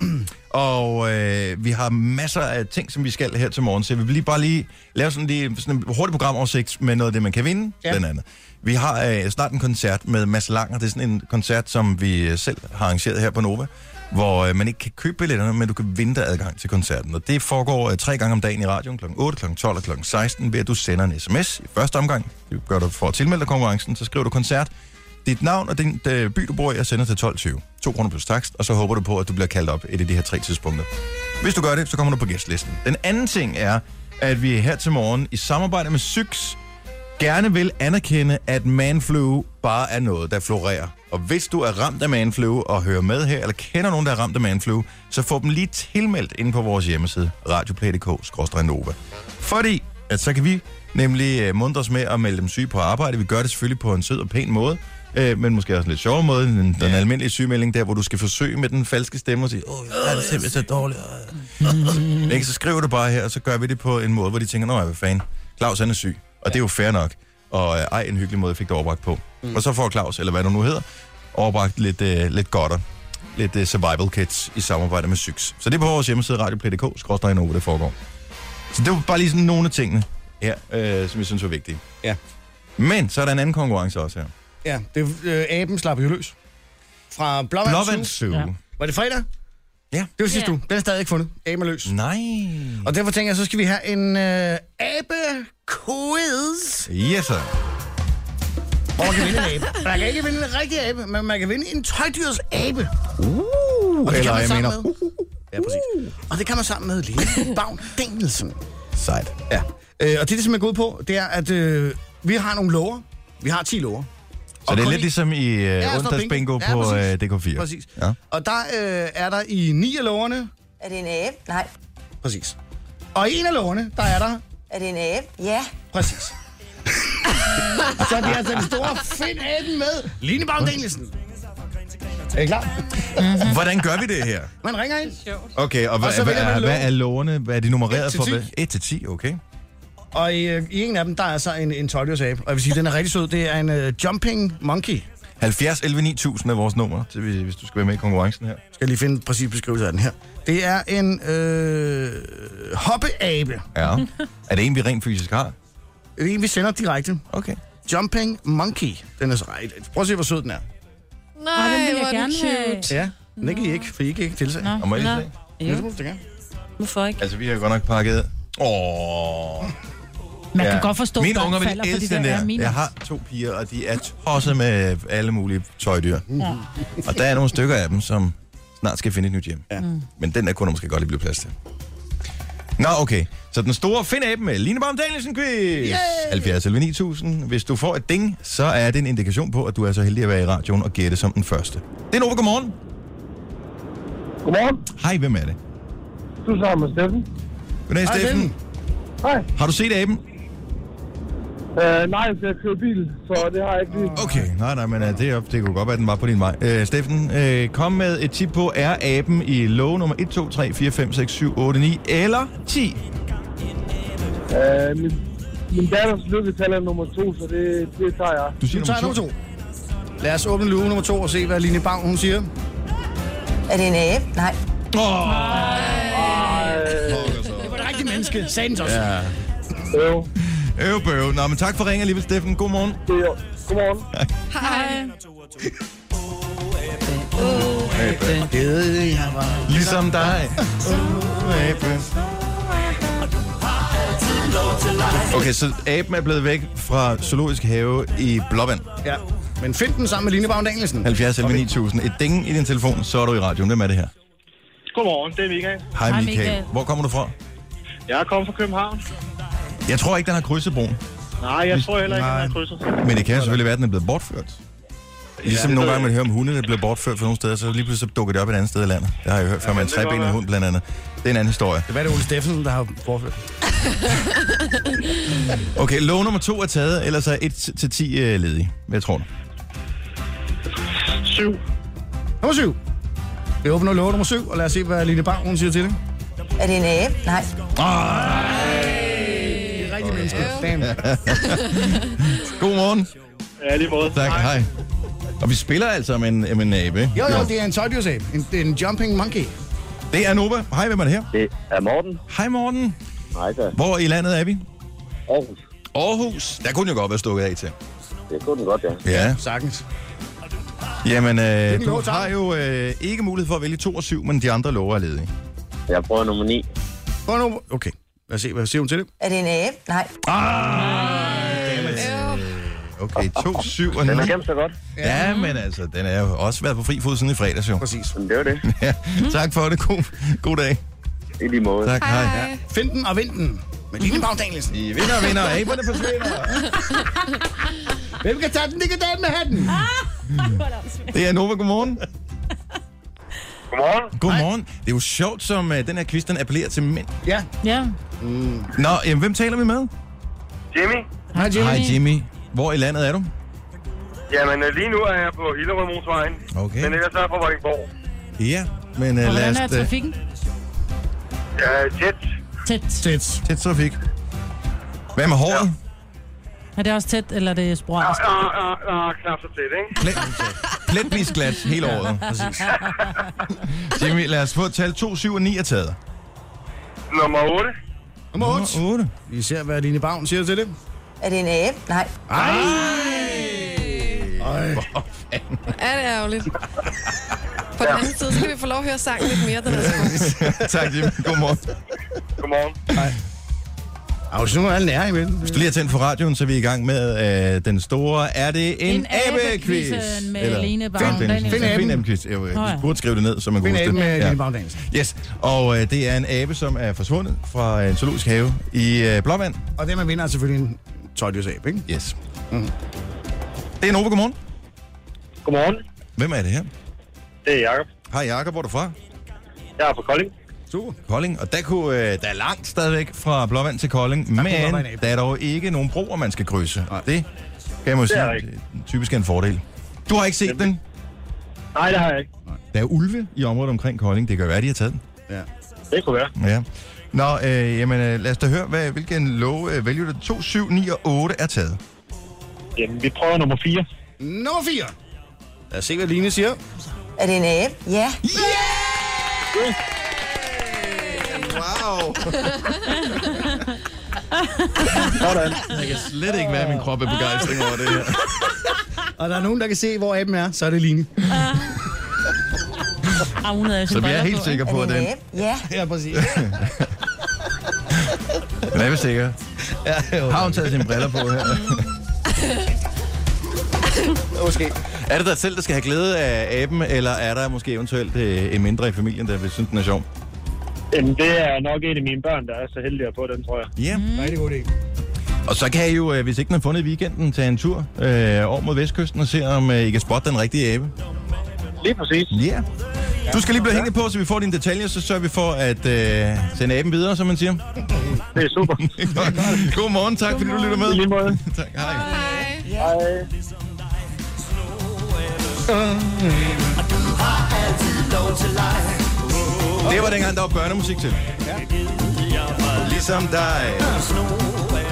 Og øh, vi har masser af ting, som vi skal her til morgen, så vi vil lige bare lige lave sådan, lige, sådan en hurtig programoversigt med noget af det, man kan vinde, ja. blandt andet. Vi har øh, snart en koncert med Mads Langer. Det er sådan en koncert, som vi øh, selv har arrangeret her på Nova, hvor øh, man ikke kan købe billetterne, men du kan vinde dig adgang til koncerten. Og det foregår øh, tre gange om dagen i radioen, kl. 8, kl. 12 og kl. 16, ved at du sender en sms i første omgang. Det gør du for at tilmelde dig konkurrencen, så skriver du koncert dit navn og den øh, by, du bor i, og sender til 12.20. 2 kroner plus takst, og så håber du på, at du bliver kaldt op et af de her tre tidspunkter. Hvis du gør det, så kommer du på gæstlisten. Den anden ting er, at vi her til morgen i samarbejde med Syks gerne vil anerkende, at manflu bare er noget, der florerer. Og hvis du er ramt af manflu og hører med her, eller kender nogen, der er ramt af manflu, så få dem lige tilmeldt inde på vores hjemmeside, radioplay.dk-nova. Fordi, at så kan vi nemlig øh, muntre os med at melde dem syge på arbejde. Vi gør det selvfølgelig på en sød og pæn måde, øh, men måske også en lidt sjovere måde, end den, den almindelige sygemelding, der hvor du skal forsøge med den falske stemme og sige, åh, jeg er det simpelthen så dårligt. Mm. Ikke? Så skriver du bare her, og så gør vi det på en måde, hvor de tænker, nå, hvad fanden, Claus han er syg, og det er jo fair nok. Og øh, ej, en hyggelig måde fik det overbragt på. Mm. Og så får Claus, eller hvad du nu hedder, overbragt lidt, øh, lidt godter. Lidt øh, survival kits i samarbejde med Syks. Så det er på vores hjemmeside, radioplay.dk, skråstrej nu, hvor det foregår. Så det var bare lige sådan nogle af tingene her, øh, som jeg synes var vigtige.
Ja.
Men så er der en anden konkurrence også her.
Ja, det, øh, aben slap jo løs. Fra Blåvandshue.
Blåvandshue. Ja.
Var det fredag?
Ja.
Det var sidste
Ja.
ja. uge. Den er stadig ikke fundet. Aben er løs.
Nej.
Og derfor tænker jeg, så skal vi have en øh, abe-quiz.
Yes, sir.
Hvor man kan vinde en abe. Man kan ikke vinde en rigtig abe, men man kan vinde en tøjdyrs abe.
Uh,
Og det kan
eller
man
jeg
sammen
mener,
med. Ja, præcis.
Uh.
Og det kan man sammen med Lene Bavn Danielsen.
sejt.
Ja. Øh, og det, det simpelthen går ud på, det er, at øh, vi har nogle lover. Vi har 10 lover.
Så
Og
det er
kun
lidt
i-
ligesom i øh,
sådan noget
onsdagsbingo
bingo. Ja,
på øh,
præcis.
DK4.
Præcis.
Ja.
Og der øh, er der i 9 af loverne...
Er det en æb? Nej.
Præcis. Og i en af loverne, der er der...
Er det en æb? Ja.
Præcis. Så vi har den store find aben med Line Bavn Danielsen. Er I klar?
Hvordan gør vi det her?
Man ringer ind.
Okay, og, hvad,
Og så
hvad,
vælger man
er,
lån.
hvad er lårene? Hvad er de nummereret
Et til
for?
ti.
1 til 10, okay.
Og i, øh, i en af dem, der er så en, en 12 abe. Og jeg vil sige, den er rigtig sød. Det er en øh, jumping monkey.
70 11 9000 er vores nummer, til, Øh, hvis- hvis du skal være med i konkurrencen her.
skal lige finde en præcis beskrivelse af den her. Det er en øh, hoppeabe.
Ja. er det en, vi rent fysisk har?
Det er en, vi sender direkte.
Okay.
Jumping Monkey. Den er så ret. Prøv at se, hvor sød den er.
Ej, den vil
hvor
jeg
er den
gerne have.
Ja, den kan I ikke, for I kan ikke tilsage.
Og må jeg lige se?
Ja, det må du da gerne.
Hvorfor ikke?
Altså, vi har jo godt nok pakket... Åh.
Man kan godt forstå,
Mine
at
unger vil
børn falder for de
elske
der
den der.
er mine.
Jeg har to piger, og de er tosset med alle mulige tøjdyr. Og der er nogle stykker af dem, som snart skal finde et nyt hjem. Mm.
Ja.
Men den der kunne der måske godt lige blive plads til. Nå, okay. Så den store Find Aben med Line Baum Danielsen quiz. 70 11 9000. Hvis du får et ding, så er det en indikation på, at du er så heldig at være i radioen og gætte som den første. Det er Nova, godmorgen.
Godmorgen.
Hej, hvem er det?
Susanne og Steffen.
Goddag,
Hej,
Steffen.
Hej.
Har du set aben?
Øh, nej, så jeg kører bil, så det har jeg ikke lige.
Okay, nej, nej, men uh, det, er- det kunne godt være, at den var på din vej. Øh, Steffen, øh, kom med et tip på, er aben i lov nummer 1, 2, 3, 4, 5, 6, 7, 8, 9 eller 10?
Øh, min, min datters lykketal er nummer to, så det, det tager jeg.
Du siger
Du tager nummer to. Lad os åbne luge nummer to og se, hvad Line Bavn, hun siger.
Er det en æb? Nej.
Det var et rigtigt menneske. Sagde den så også.
Ja.
Øv.
Øv, bøv. Nå, men tak for ringen alligevel, Steffen. God morgen.
Godmorgen.
Hej.
Abe.
Det jeg var.
Ligesom dig. Abe. Okay, så aben er blevet væk fra Zoologisk Have i Blåvand.
Ja. Men find den sammen med Line Bavn Danielsen.
70 11 9000. Et ding i din telefon, så er du i radioen. Hvem er det her?
Godmorgen, det er Michael.
Hej Michael. Hvor kommer du fra?
Jeg er kommet fra København.
Jeg tror ikke, den har krydset broen.
Nej, jeg tror heller ikke, at han har krydset.
Men det kan jo selvfølgelig være, at den er blevet bortført. Ligesom
det
nogle
ved
gange,
jeg.
man hører om hunde, der bliver bortført fra nogle steder, så lige pludselig så dukker det op et andet sted i landet. Det har jeg hørt før med en
det kan godt
trebenet
være.
hund blandt andet. Det er en anden historie.
Det var det Ole Steffensen, der har forført.
Okay, lov nummer to er taget, ellers er 1-10 øh, ledige. Hvad tror du?
7. Nummer 7. Vi åbner lov nummer 7, og lad os se, hvad Line Bang, hun siger til det.
Er det en æb? Nej.
Rigtig menneske. Damn.
Godmorgen.
Ja, lige måde.
Tak, hej. Og vi spiller altså med en, med en abe, ikke?
Jo, jo, det er en tøjdyrsabe. En, en jumping monkey.
Det er Nova. Hej, hvem er det her?
Det er Morten.
Hej, Morten.
Hej da.
Hvor i landet er vi?
Aarhus.
Aarhus. Der kunne den jo godt være stukket af til.
Det kunne den godt, ja.
Ja.
Sagtens.
Jamen,
en
øh, du
god tanke.
har jo øh, ikke mulighed for at vælge 2 og 7, men de andre lover er ledige.
Jeg prøver nummer 9.
Prøv nu. Okay, lad os se, hvad siger hun til det?
Er det en æb? Nej.
Ah.
øh, Okay, 2, 7 og 9.
Den er gemt så godt.
Ja, men altså, den er jo også været på fri fod siden i fredags, jo.
Præcis.
Men det var det.
Ja, tak for det. God, god dag.
I lige måde.
Tak, hej.
Ja. Find den og vind den. Med Line Bang Danielsen.
I vinder, vinder. Aberne forsvinder.
Hvem kan tage den? Det kan tage den med hatten.
Ah! Det er Nova, godmorgen.
Godmorgen.
Godmorgen. Det er jo sjovt, som uh, den her quiz, den appellerer til mænd.
Ja.
Ja.
Mm. Nå, jamen, hvem taler vi med?
Jimmy?
Hej,
Hej, Jimmy. Hvor i landet er du?
Jamen, øh, lige nu er jeg på Hillerød Motorvejen.
Okay.
Men ellers er jeg på Vordingborg.
Ja, men uh, lad
Hvordan
os...
er
da-
trafikken?
Ja, tæt.
Tæt.
Tæt.
Tæt trafik. Hvad med håret?
Er det også tæt, eller er det sporadisk?
Ah, ah, ah, knap så tæt, ikke?
Plet, pletvis glat hele året. Præcis. Jimmy, lad os få et tal 2, 7 og 9 er taget.
Nummer 8.
Nummer 8.
Nummer 8.
Vi ser, hvad Line Bang siger til det.
Er det en æb? Nej.
Ej.
Ej. Hvor
Ja, det er ærgerligt. På den anden side, så kan vi få lov at høre sangen lidt mere. Den er så god.
fanden. tak, Jimmy. Godmorgen.
Godmorgen.
Hej. Og hvis nu er alle nære imellem.
Hvis du lige har tændt for radioen, så er vi i gang med øh, den store Er det en,
En
abe-quiz?
abe-quizzen med
Eller-
Lene Baum
Find-
Danielsen.
Find aben. øh,
Find
Find
aben.
aben-quiz. Jeg,
Nå ja.
jeg burde skrive det ned, så man
Find
kunne
aben
huske
med
det.
Line Bang Danielsen.
Yes, og øh, det er en abe, som er forsvundet fra en zoologisk have i øh, Blåvand.
Og det, man vinder, er selvfølgelig en tøjdyrsabe, ikke?
Yes. Mhm. Det er Nova, godmorgen.
Godmorgen.
Hvem er det her?
Det er Jakob.
Hej Jakob, hvor er du fra?
Jeg er fra Kolding.
Super.
Kolding, og der, kunne, øh, der er langt stadigvæk fra Blåvand til Kolding, der
kunne godt
men
være en abe.
der er dog ikke nogen broer, man skal krydse. Og det kan jeg må
Det er
sige,
der
øh, typisk er en fordel. Du har ikke set den?
Nej, det har jeg ikke.
Der er ulve i området omkring Kolding, det kan være, de har taget den.
Ja.
Det kunne være.
Ja. Nå, øh, jamen, øh, lad os da høre, hvad, hvilken lov øh, vælger du? 2, 7, 9 og 8 er taget.
Jamen, vi prøver nummer 4.
Nummer 4. Lad os se, hvad Line siger.
Er det en æb? Ja.
Wow! Jeg kan slet ikke være, at min krop er begejstring over det her.
Og der er nogen, der kan se, hvor aben er, så er det Line.
Ah, hun havde jo
Så
sine
vi er
briller
helt
på, ikke?
sikre på, at den,
Ja.
Ja, præcis.
den er vi sikre. Har hun taget sine briller på her?
Måske.
Er det dig selv, der skal have glæde af aben, eller er der måske eventuelt øh, en mindre i familien, der vil synes, den er sjov?
Jamen, det er nok en af mine børn, der er så heldig at få den, tror jeg.
Ja. Yeah.
Mm. Rigtig god idé.
Og så kan I jo, øh, hvis ikke den er fundet i weekenden, tage en tur øh, over mod vestkysten og se, om øh, I kan spotte den rigtige abe.
Lige præcis.
Ja. Yeah. Du skal lige blive hængende på, så vi får dine detaljer, så sørger vi for at øh, sende aben videre, som man siger.
Det er super.
God morgen, tak fordi du lytter med.
I lige måde.
tak, hej.
Hej.
Det var dengang, der var børnemusik til. Ligesom der... Øh,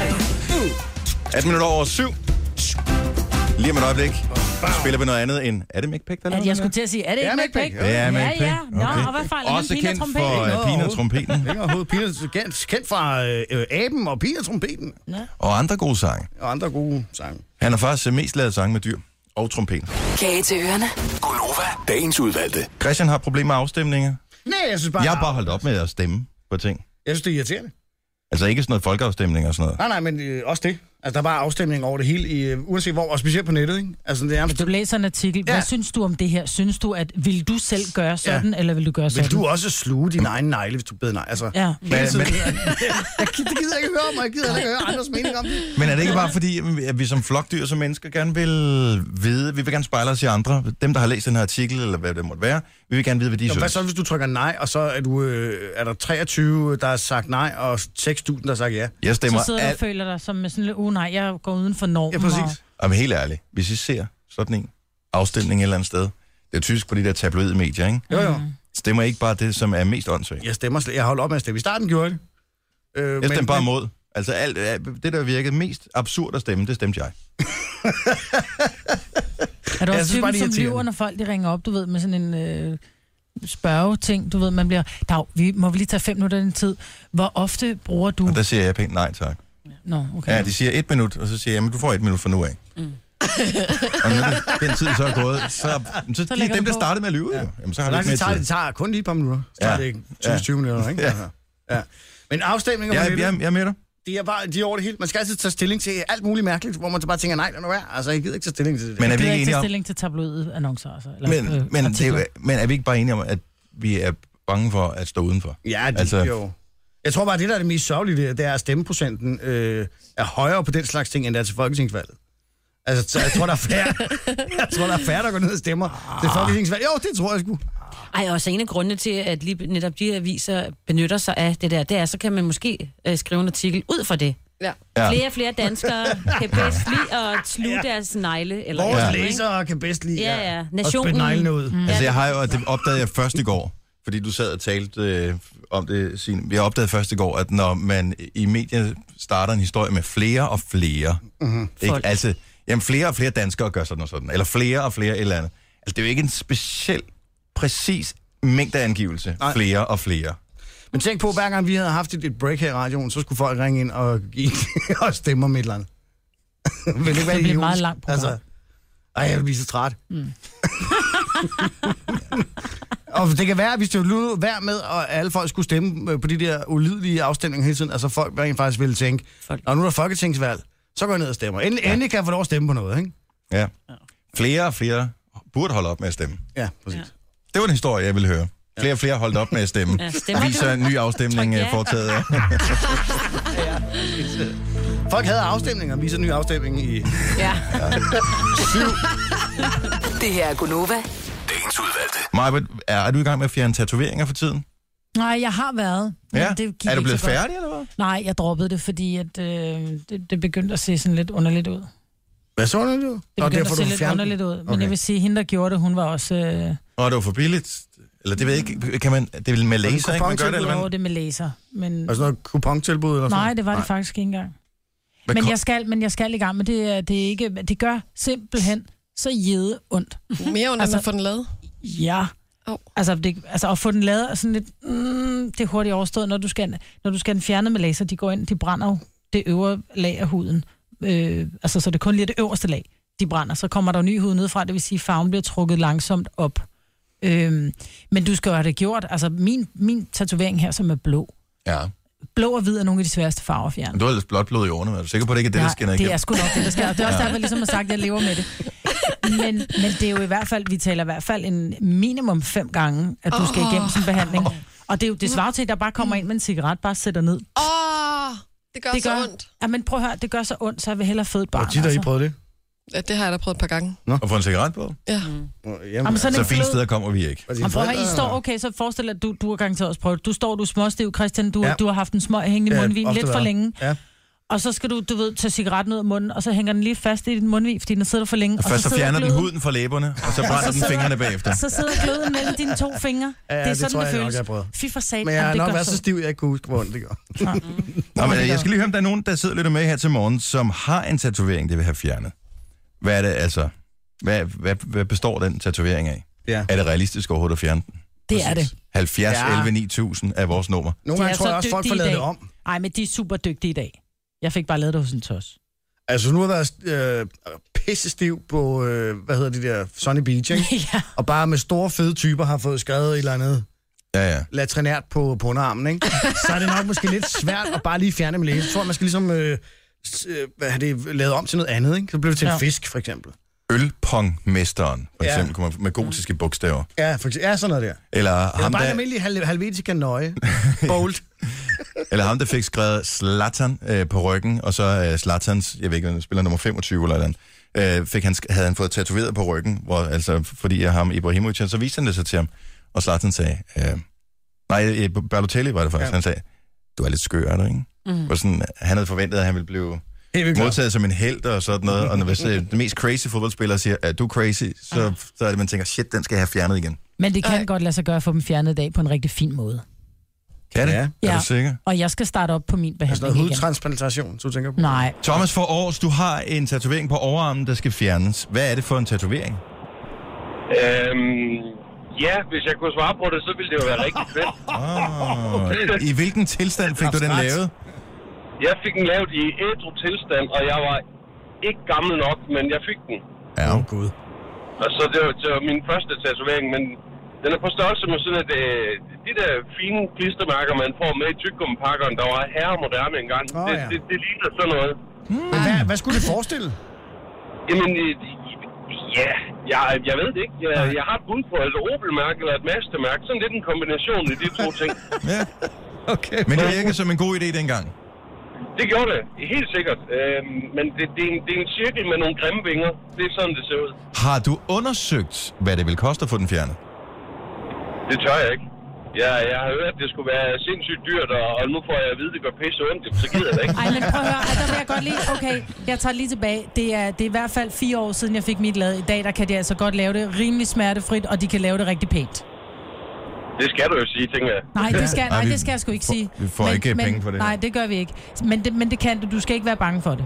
Uh. 18 minutter over syv. Lige om et øjeblik spiller vi noget andet end... Er det McPack, der
At jeg skulle til at sige, er det
Ja,
ikke
Mac
McPack?
Pack.
Ja,
ja,
McPack.
ja. Nå, og hvad fejler han?
Også
Pina
kendt
trompeten?
for øh,
Ikke overhovedet.
Pina Trompeten
Ikke overhovedet. Pina, kendt, kendt fra øh, øh, aben og Pina Trompeten.
og andre gode sange.
Og andre gode sange.
Han har faktisk øh, mest lavet sange med dyr og trompet.
Kage til ørerne.
Gonova, dagens udvalgte.
Christian har problemer med afstemninger.
Nej, jeg synes bare...
Jeg har bare holdt op med at stemme på ting.
Jeg synes, det er irriterende.
Altså ikke sådan noget folkeafstemning og sådan noget.
Nej, nej, men øh, også det. Altså, der er bare afstemning over det hele, i, øh, uanset hvor, og specielt på nettet, ikke? Altså, det er nærmest...
Du læser en artikel. Ja. Hvad synes du om det her? Synes du, at vil du selv gøre sådan, ja. eller vil du gøre sådan?
Vil du også sluge dine egne negle, hvis du beder nej? Altså,
Ja.
Men, men,
Men-
jeg, gi- det gider jeg ikke høre om, og jeg gider heller ikke høre andres mening om det.
Men er det ikke bare fordi, at vi som flokdyr, som mennesker, gerne vil vide, vi vil gerne spejle os i andre, dem, der har læst den her artikel, eller hvad det måtte være, vi vil gerne vide, hvad de
Nå, hvad
synes.
så, hvis du trykker nej, og så er, du, øh, er der 23, der har sagt nej, og 6.000, der har sagt ja?
Jeg stemmer
Så sidder du og
alt...
føler dig som med sådan lidt, uh, nej, jeg går uden for normen. Ja, præcis.
Jamen, helt ærligt, hvis I ser sådan en afstemning et eller andet sted, det er tysk på de der tabloide medier, ikke?
Jo,
Mm.
jo.
Stemmer I ikke bare det, som er mest åndssvagt?
Jeg stemmer slet. Jeg holdt op med at stemme. I starten gjorde jeg det. Øh,
Jeg stemte bare imod. Altså alt, alt- det, der virkede mest absurd at stemme, det stemte jeg.
Er du
Jeg
også
synes bare, det er
typen, som
irriterende.
lyver, når folk de ringer op, du ved, med sådan en øh, spørgeting, du ved, man bliver, Dag, vi, må vi lige tage fem minutter af din tid. Hvor ofte bruger du...
Og der siger jeg pænt nej tak.
Nå, okay.
Okay. Ja, de siger et minut, og så siger jeg, men du får et minut fra nu af. Mm. og når den tid så er gået, så, så, så de,
lægger
dem,
du
der
på.
startede med at lyve, ja. jamen, så har
Så
du
langt
ikke
det
mere
tager, det
tid.
tager kun lige et par minutter. Så ja.
Ja.
det ikke 20-20
Ja.
minutter, ikke?
Ja.
ja. Men afstemninger
Jeg-
på nettet,
jeg- jeg er med dig.
De er, bare, de er over det hele. Man skal altid tage stilling til alt muligt mærkeligt, hvor man så bare tænker, nej, lad nu være. Altså, jeg gider ikke tage stilling til det.
Men er
Jeg
vi
gider
ikke
ikke
enige
tage
om-
stilling til tabloide annoncer, altså. Eller,
Men,
øh,
men, det, er
artikler.
jo- men er vi ikke bare enige om, at vi er bange for at stå udenfor?
Ja, det altså... jo. Jeg tror bare, det, der er det mest sørgelige, det er- det er, at stemmeprocenten øh, er højere på den slags ting, end der er til folketingsvalget. Altså, så jeg tror, der er færre, jeg tror, der, er færre der går ned og stemmer til
Ah.
folketingsvalget. Jo, det tror jeg sgu.
Ej, og så en af grundene til, at lige netop de aviser benytter sig af det der, det er, så kan man måske øh, skrive en artikel ud fra det.
Ja.
Ja. Flere og flere danskere kan bedst lide at sluge ja. deres negle. Eller
Vores
ja.
ja. læsere kan bedst lide
Ja, ja.
at- at
Nationen.
spytte neglene ud.
Mm.
Altså, jeg har jo, og det opdagede jeg først i går, fordi du sad og talte øh, om det, Signe. Jeg opdagede først i går, at når man i medier starter en historie med flere og flere,
Mhm.
ikke?
Folk.
altså, jamen flere og flere danskere gør sådan og sådan, eller flere og flere et eller andet. Altså, det er jo ikke en speciel, præcis mængde af angivelse.
Nej.
Flere og flere.
Men tænk på, hver gang vi havde haft et, et break her i radioen, så skulle folk ringe ind og, give, og stemme om et eller andet. Vil ikke være
Det bliver et
idiotisk?
meget langt program.
Altså, ej, jeg vil blive så træt.
Mm.
Og det kan være, hvis det lød værd med, at alle folk skulle stemme øh, på de der ulidelige afstemninger hele tiden, altså folk rent faktisk ville tænke, og nu er der folketingsvalg, så går jeg ned og stemmer. Endelig, ja. endelig kan jeg få lov at stemme på noget, ikke?
Ja. Flere og flere burde holde op med at stemme.
Ja, præcis. Ja.
Det var en historie, jeg ville høre. Flere og flere holdt op med at stemme.
Ja, stemmer
Det viser
du?
en ny afstemning
Tryk
øh,
ja.
foretaget af.
Folk havde afstemninger, viser en ny afstemning i...
Ja.
Syv.
Det her er Gunova.
Maja, er, er du i gang med at fjerne tatoveringer for tiden?
Nej, jeg har været. men
Ja.
det gik
Er du
ikke
blevet
så godt.
færdig, eller hvad?
Nej, jeg droppede det, fordi at, øh, det, det begyndte at se sådan lidt underligt ud.
Hvad så nu, du?
Det begyndte at se lidt underligt ud. Men okay. jeg vil sige, at hende, der gjorde det, hun var også... Øh,
Nå, det var for billigt. Eller det ved jeg ikke. Kan man, det er vel med
det
laser, ikke? Man gør det, eller
over
hvad? Altså,
det med laser. Men,
Og sådan noget kupontilbud eller sådan
nej, det var det faktisk ikke engang.
Hvad
Men
kom-
jeg skal, men jeg skal i gang, men det, er- det, er ikke, det gør simpelthen så jede ondt.
Mere ondt, altså, end at få den lavet?
Ja.
Oh.
Altså, det, altså at få den lavet er sådan lidt, mm, det er hurtigt overstået, når du, skal, når du skal have den fjernet med laser, de går ind, de brænder jo det øvre lag af huden. Øh, altså, så det er kun lige det øverste lag, de brænder. Så kommer der jo ny hud nedefra, det vil sige, at farven bliver trukket langsomt op. Øhm, men du skal jo have det gjort. Altså, min, min tatovering her, som er blå.
Ja.
Blå og hvid er nogle af de sværeste farver at fjerne.
Men du har ellers blot blod i årene. Er du sikker på, at det ikke er det, der
Nej,
skinner
det
igennem?
er sgu nok det, der sker. Og det er også
Ja.
derfor, jeg ligesom har sagt, at jeg lever med det. Men, men det er jo i hvert fald, vi taler i hvert fald en minimum fem gange, at du skal igennem sådan en behandling. Og det er jo det svarer til, at der bare kommer ind med en cigaret, bare sætter ned.
Åh, oh, det Mm. gør det så gør... ondt.
Ja, men prøv at høre, det gør så ondt, så jeg vil hellere føde et barn. altså.
Hvor tit har I prøvet det?
Ja, det har jeg da prøvet et par gange.
Nå. Og få en cigaret på?
Ja.
Jamen, sådan
så
en
fint
blød-
steder kommer vi ikke.
Mm. Og prøv at høre, I står, okay, så forestil dig, at du, du har garanteret også prøvet det. Du står, du er småstiv, Christian, du,
Ja.
ja. du har haft en smøg hængende i
Ja,
mundvin
ofte
lidt for
været.
længe.
Ja.
Og så skal du, du ved, tage cigaretten ud af munden, og så hænger den lige fast i din mundvin, fordi den sidder for længe.
Og først så
sidder
fjerner den
gløden.
huden fra læberne, og så brænder den
sidder-
fingrene bagefter.
Så sidder gløden mellem dine to fingre.
Ja,
det er
det
sådan,
tror
det
jeg nok,
føles.
jeg har prøvet.
Fy for satan,
Men jeg har
det
nok
gør
været så
så
stiv, jeg ikke kunne huske, hvor ondt det gør.
Nå, men øh, jeg skal lige høre, om der er nogen, der sidder lidt med her til morgen, som har en tatovering, det vil have fjernet. Hvad er det altså? Hvad, hvad, hvad består den tatovering af?
Ja.
Er det realistisk overhovedet at fjerne den?
Det er det.
70,
Ja.
ja. 11, 9000 er vores nummer.
Nogle gange tror jeg også, folk får lavet det om.
Nej, men de er super dygtige i dag. Jeg fik bare lavet det hos en tos.
Altså, nu har jeg været øh, pissestiv på, øh, hvad hedder det der, Sunny Beach, ikke?
ja.
Og bare med store, fede typer har fået skrevet et eller andet
Ja, ja.
latrinært på, på underarmen, ikke? Så er det nok måske lidt svært at bare lige fjerne med læse. Jeg tror, man skal ligesom øh, s- øh, hvad er det lavet om til noget andet, ikke? Så blev det til ja.
Ja.
en fisk, for eksempel.
Ølpongmesteren, for
Ja.
eksempel, ja. kunne man, med gotiske bogstaver.
Ja, for eksempel, ja sådan noget der.
Eller
Det er
ham,
bare en
der,
almindelig hal- halvetica nøje. Bold.
eller ham, der fik skrevet Slatan øh, på ryggen, og så øh, Slatans, jeg ved ikke, han spiller nummer 25 eller noget, øh, fik han, sk- havde han fået tatoveret på ryggen, hvor, altså, fordi jeg ham Ibrahimovic, så viste han det så til ham, og Slatan sagde, øh, nej, øh, Balotelli var det faktisk, ja. han sagde, du er lidt skør, er du ikke? Mm. Og sådan, han havde forventet, at han ville blive modtaget som en held og sådan noget, og når hvis, øh, den mest crazy fodboldspiller siger, at du er crazy, så, så er det, man tænker, shit, den skal jeg have fjernet igen.
Men det kan godt lade sig gøre at få dem fjernet i dag på en rigtig fin måde.
Kan det? Ja. Er du sikker?
Og jeg skal starte op på min
Altså noget
behandling igen.
hudtransplantation, så du tænker på.
Nej.
Thomas for Aarhus, du har en tatovering på overarmen, der skal fjernes. Hvad er det for en tatovering?
Øhm, ja, hvis jeg kunne svare på det, så ville det jo være rigtig fedt.
Oh, I hvilken tilstand fik du den
Abstrakt.
lavet?
Jeg fik den lavet i ædru tilstand, og jeg var ikke gammel nok, men jeg fik den.
Ja.
Åh, oh, Gud.
Og så det var, det var min første tatovering, men den er på størrelse med sådan, at øh, de der fine klistermærker, man får med i tyggegummipakkerne, der var herre moderne engang,
Åh,
oh, det,
ja.
det, det ligner sådan noget.
Men hvad, hvad skulle det forestille?
Jamen, øh, ja, jeg, jeg ved det ikke. Jeg, jeg har et bud på et Opel-mærke eller et Mazda-mærke. Sådan lidt en kombination af de to ting.
Okay. Men det virkede som en god idé dengang.
Det gjorde det, helt sikkert. Øhm, men det, det, er en, det er en cirkel med nogle grimme vinger. Det er sådan, det ser ud.
Har du undersøgt, hvad det vil koste at få den fjernet?
Det tør jeg ikke. Jeg, jeg har hørt, at det skulle være sindssygt dyrt, og, og nu får jeg at vide, at det gør pisse ondt. Jamen, Så gider jeg det ikke.
Ej, men prøv at høre, Ej, der vil jeg godt lige... Okay, jeg tager det lige tilbage. Det er, det er i hvert fald fire år siden, jeg fik mit lavet. I dag, der kan de altså godt lave det rimelig smertefrit, og de kan lave det rigtig pænt.
Det skal du jo sige, tænker jeg.
Nej, det skal, nej,
vi
det skal jeg sgu ikke sige.
vi får ikke penge for det her.
Nej, det gør vi ikke. Men det, men det kan du. Du skal ikke være bange for det.